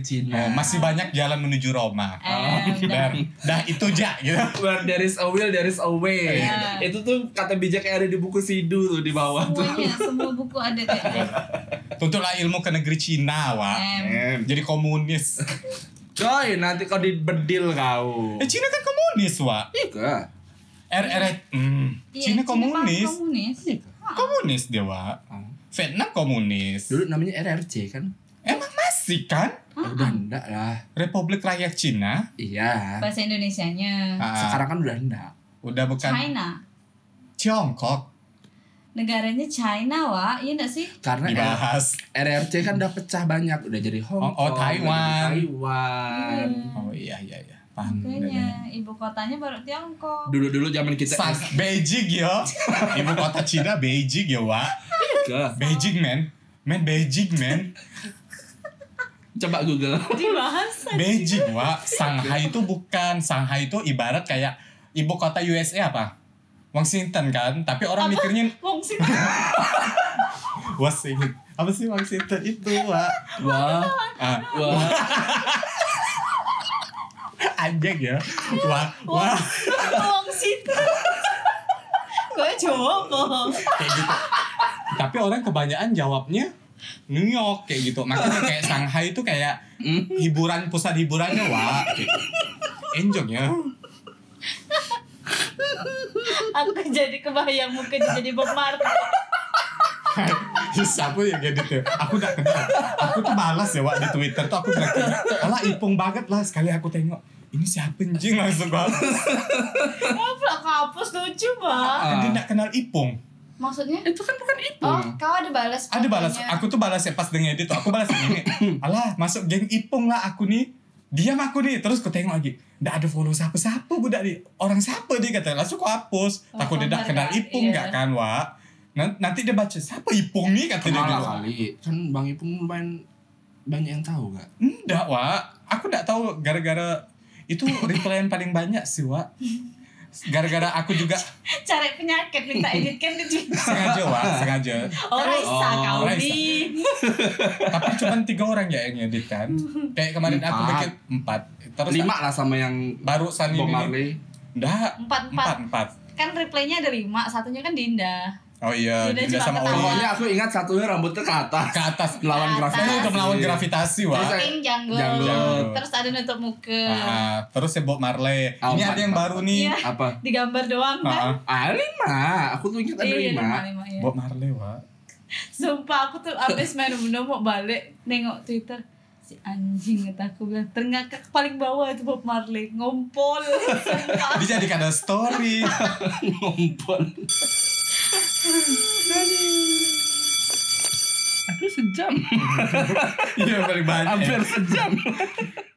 A: Oh,
C: Cina
A: masih banyak jalan menuju Roma.
B: Eh,
A: Dan dah itu aja gitu.
C: where there is a will there is a way
B: Iya.
C: itu tuh kata bijak yang ada di buku Sidu tuh di bawah tuh
B: Semuanya, semua buku ada kayak gitu.
A: Tuntutlah ilmu ke negeri Cina, Wak.
B: Em,
A: Jadi komunis.
C: coy nanti kau dibedil kau
A: Eh, Cina kan komunis, Wak.
C: Iya.
A: RR hmm.
B: iya,
A: Cina
B: paham
A: komunis.
B: komunis.
C: Iya
A: Komunis dia, Wak.
C: Ah.
A: Vietnam komunis.
C: dulu namanya RRC kan
A: Emang masih kan?
C: udah enggak lah
A: Republik Rakyat Cina.
C: iya
B: Bahasa Indonesianya.
A: Ah,
C: sekarang kan udah enggak
A: udah bukan
B: China
A: Tiongkok
B: negaranya China wa iya nggak sih
C: Karena
A: dibahas.
C: RRC kan udah pecah banyak, udah jadi Hong
A: Oh,
C: Kong,
A: oh, Taiwan.
C: udah jadi Taiwan.
A: Oh iya iya iya. Paham.
B: Hmm. Makanya ibu kotanya baru Tiongkok
C: Dulu-dulu zaman kita
A: San Beijing yo. Ibu kota Cina Beijing yo, Wak.
C: SK.
A: Beijing, man. Man Beijing, man.
C: Coba Google.
B: dibahas
A: Beijing, Wak. Shanghai itu bukan. Shanghai itu ibarat kayak ibu kota USA apa? Washington kan, tapi orang mikirnya
B: Wong sih
A: Washington. Apa sih Washington itu, Wak?
C: Wah,
A: Ah,
C: wah.
A: anjing ya. Wah, wah.
B: (laughs) Wong sih gue coba
A: kayak gitu. Tapi orang kebanyakan jawabnya New York kayak gitu. Makanya kayak Shanghai itu kayak
C: Hmm.
A: hiburan pusat hiburannya wah. Kayak gitu. Enjong ya.
B: aku kan jadi kebayang mungkin jadi Bob Marley.
A: Bisa aku yang edit ya. Aku udah kenal. Aku tuh balas ya Wak di Twitter tuh aku bilang kayak, Alah ipung banget lah sekali aku tengok. Ini siapa anjing langsung gua.
B: Ngobrol kapus lucu banget.
A: Kan dia gak kenal ipung.
B: Maksudnya?
C: Itu kan bukan itu.
B: Oh, kau ada balas?
A: Ada balas.
B: fotonya.
A: Aku tuh balas ya pas dengan edit tuh. Aku balas ini. Alah masuk geng ipung lah aku nih. Diam aku nih. Terus ku tengok lagi. Nggak ada follow siapa-siapa budak nih. Orang siapa dia kata. Langsung ku hapus.
B: Oh,
A: Takut dia nggak kenal
B: penghargaan,
A: ipung
B: iya.
A: nggak kan Wak. Nan- Nanti dia baca siapa ipung nih kata dia gitu.
C: Kenal
A: dulu.
C: kali. Kan Bang Ipung lumayan banyak yang tahu gak?
A: Enggak, Wak. Aku enggak tahu gara-gara itu reply yang paling banyak sih, Wak. Gara-gara aku juga
B: Cari penyakit minta
A: (laughs)
B: edit kan di Twitter.
A: sengaja, Wak, sengaja.
B: Oh, Raisa
C: Oh,
B: kau
A: Raisa.
B: di.
A: Tapi cuma tiga orang ya yang ngedit kan. Kayak kemarin aku
C: Empat.
A: bikin empat. Terus
C: Lima lah sama yang
A: baru Sani
C: Bob
A: ini.
C: Marley.
A: Enggak,
B: Empat
A: empat,
B: empat.
A: empat.
B: Kan replaynya ada lima, satunya kan Dinda.
A: Oh iya,
B: Dinda
A: Dinda
B: cuma
A: sama
B: ketawa.
A: Oli.
C: Pokoknya aku ingat satunya rambutnya ke atas.
A: Ke atas.
C: Melawan
B: Ke atas.
C: grafik.
A: Eh, udah melawan gravitasi, Wak.
C: Terus,
B: Pink jungle.
C: Jungle.
B: Terus ada nutup muka.
A: Ah, terus ya Bob Marley.
C: Oh,
A: ini
C: empat,
A: ada yang
C: empat,
A: baru
C: empat.
A: nih.
B: Iya.
C: Apa?
B: Digambar doang kan?
A: Ah,
C: Ah, lima. Aku tuh ingat ada
B: Iya,
C: lima.
B: lima, lima, iya.
A: Bob Marley, Wak.
B: Sumpah aku tuh abis main Uno mau balik nengok Twitter si anjing kata aku bilang ternyata ke paling bawah itu Bob Marley ngompol (laughs) sumpah
A: Dijadikan ada story.
C: (laughs)
A: (laughs)
C: Ngompol. Aduh sejam.
A: Iya, paling banyak.
C: Iya. Hampir sejam.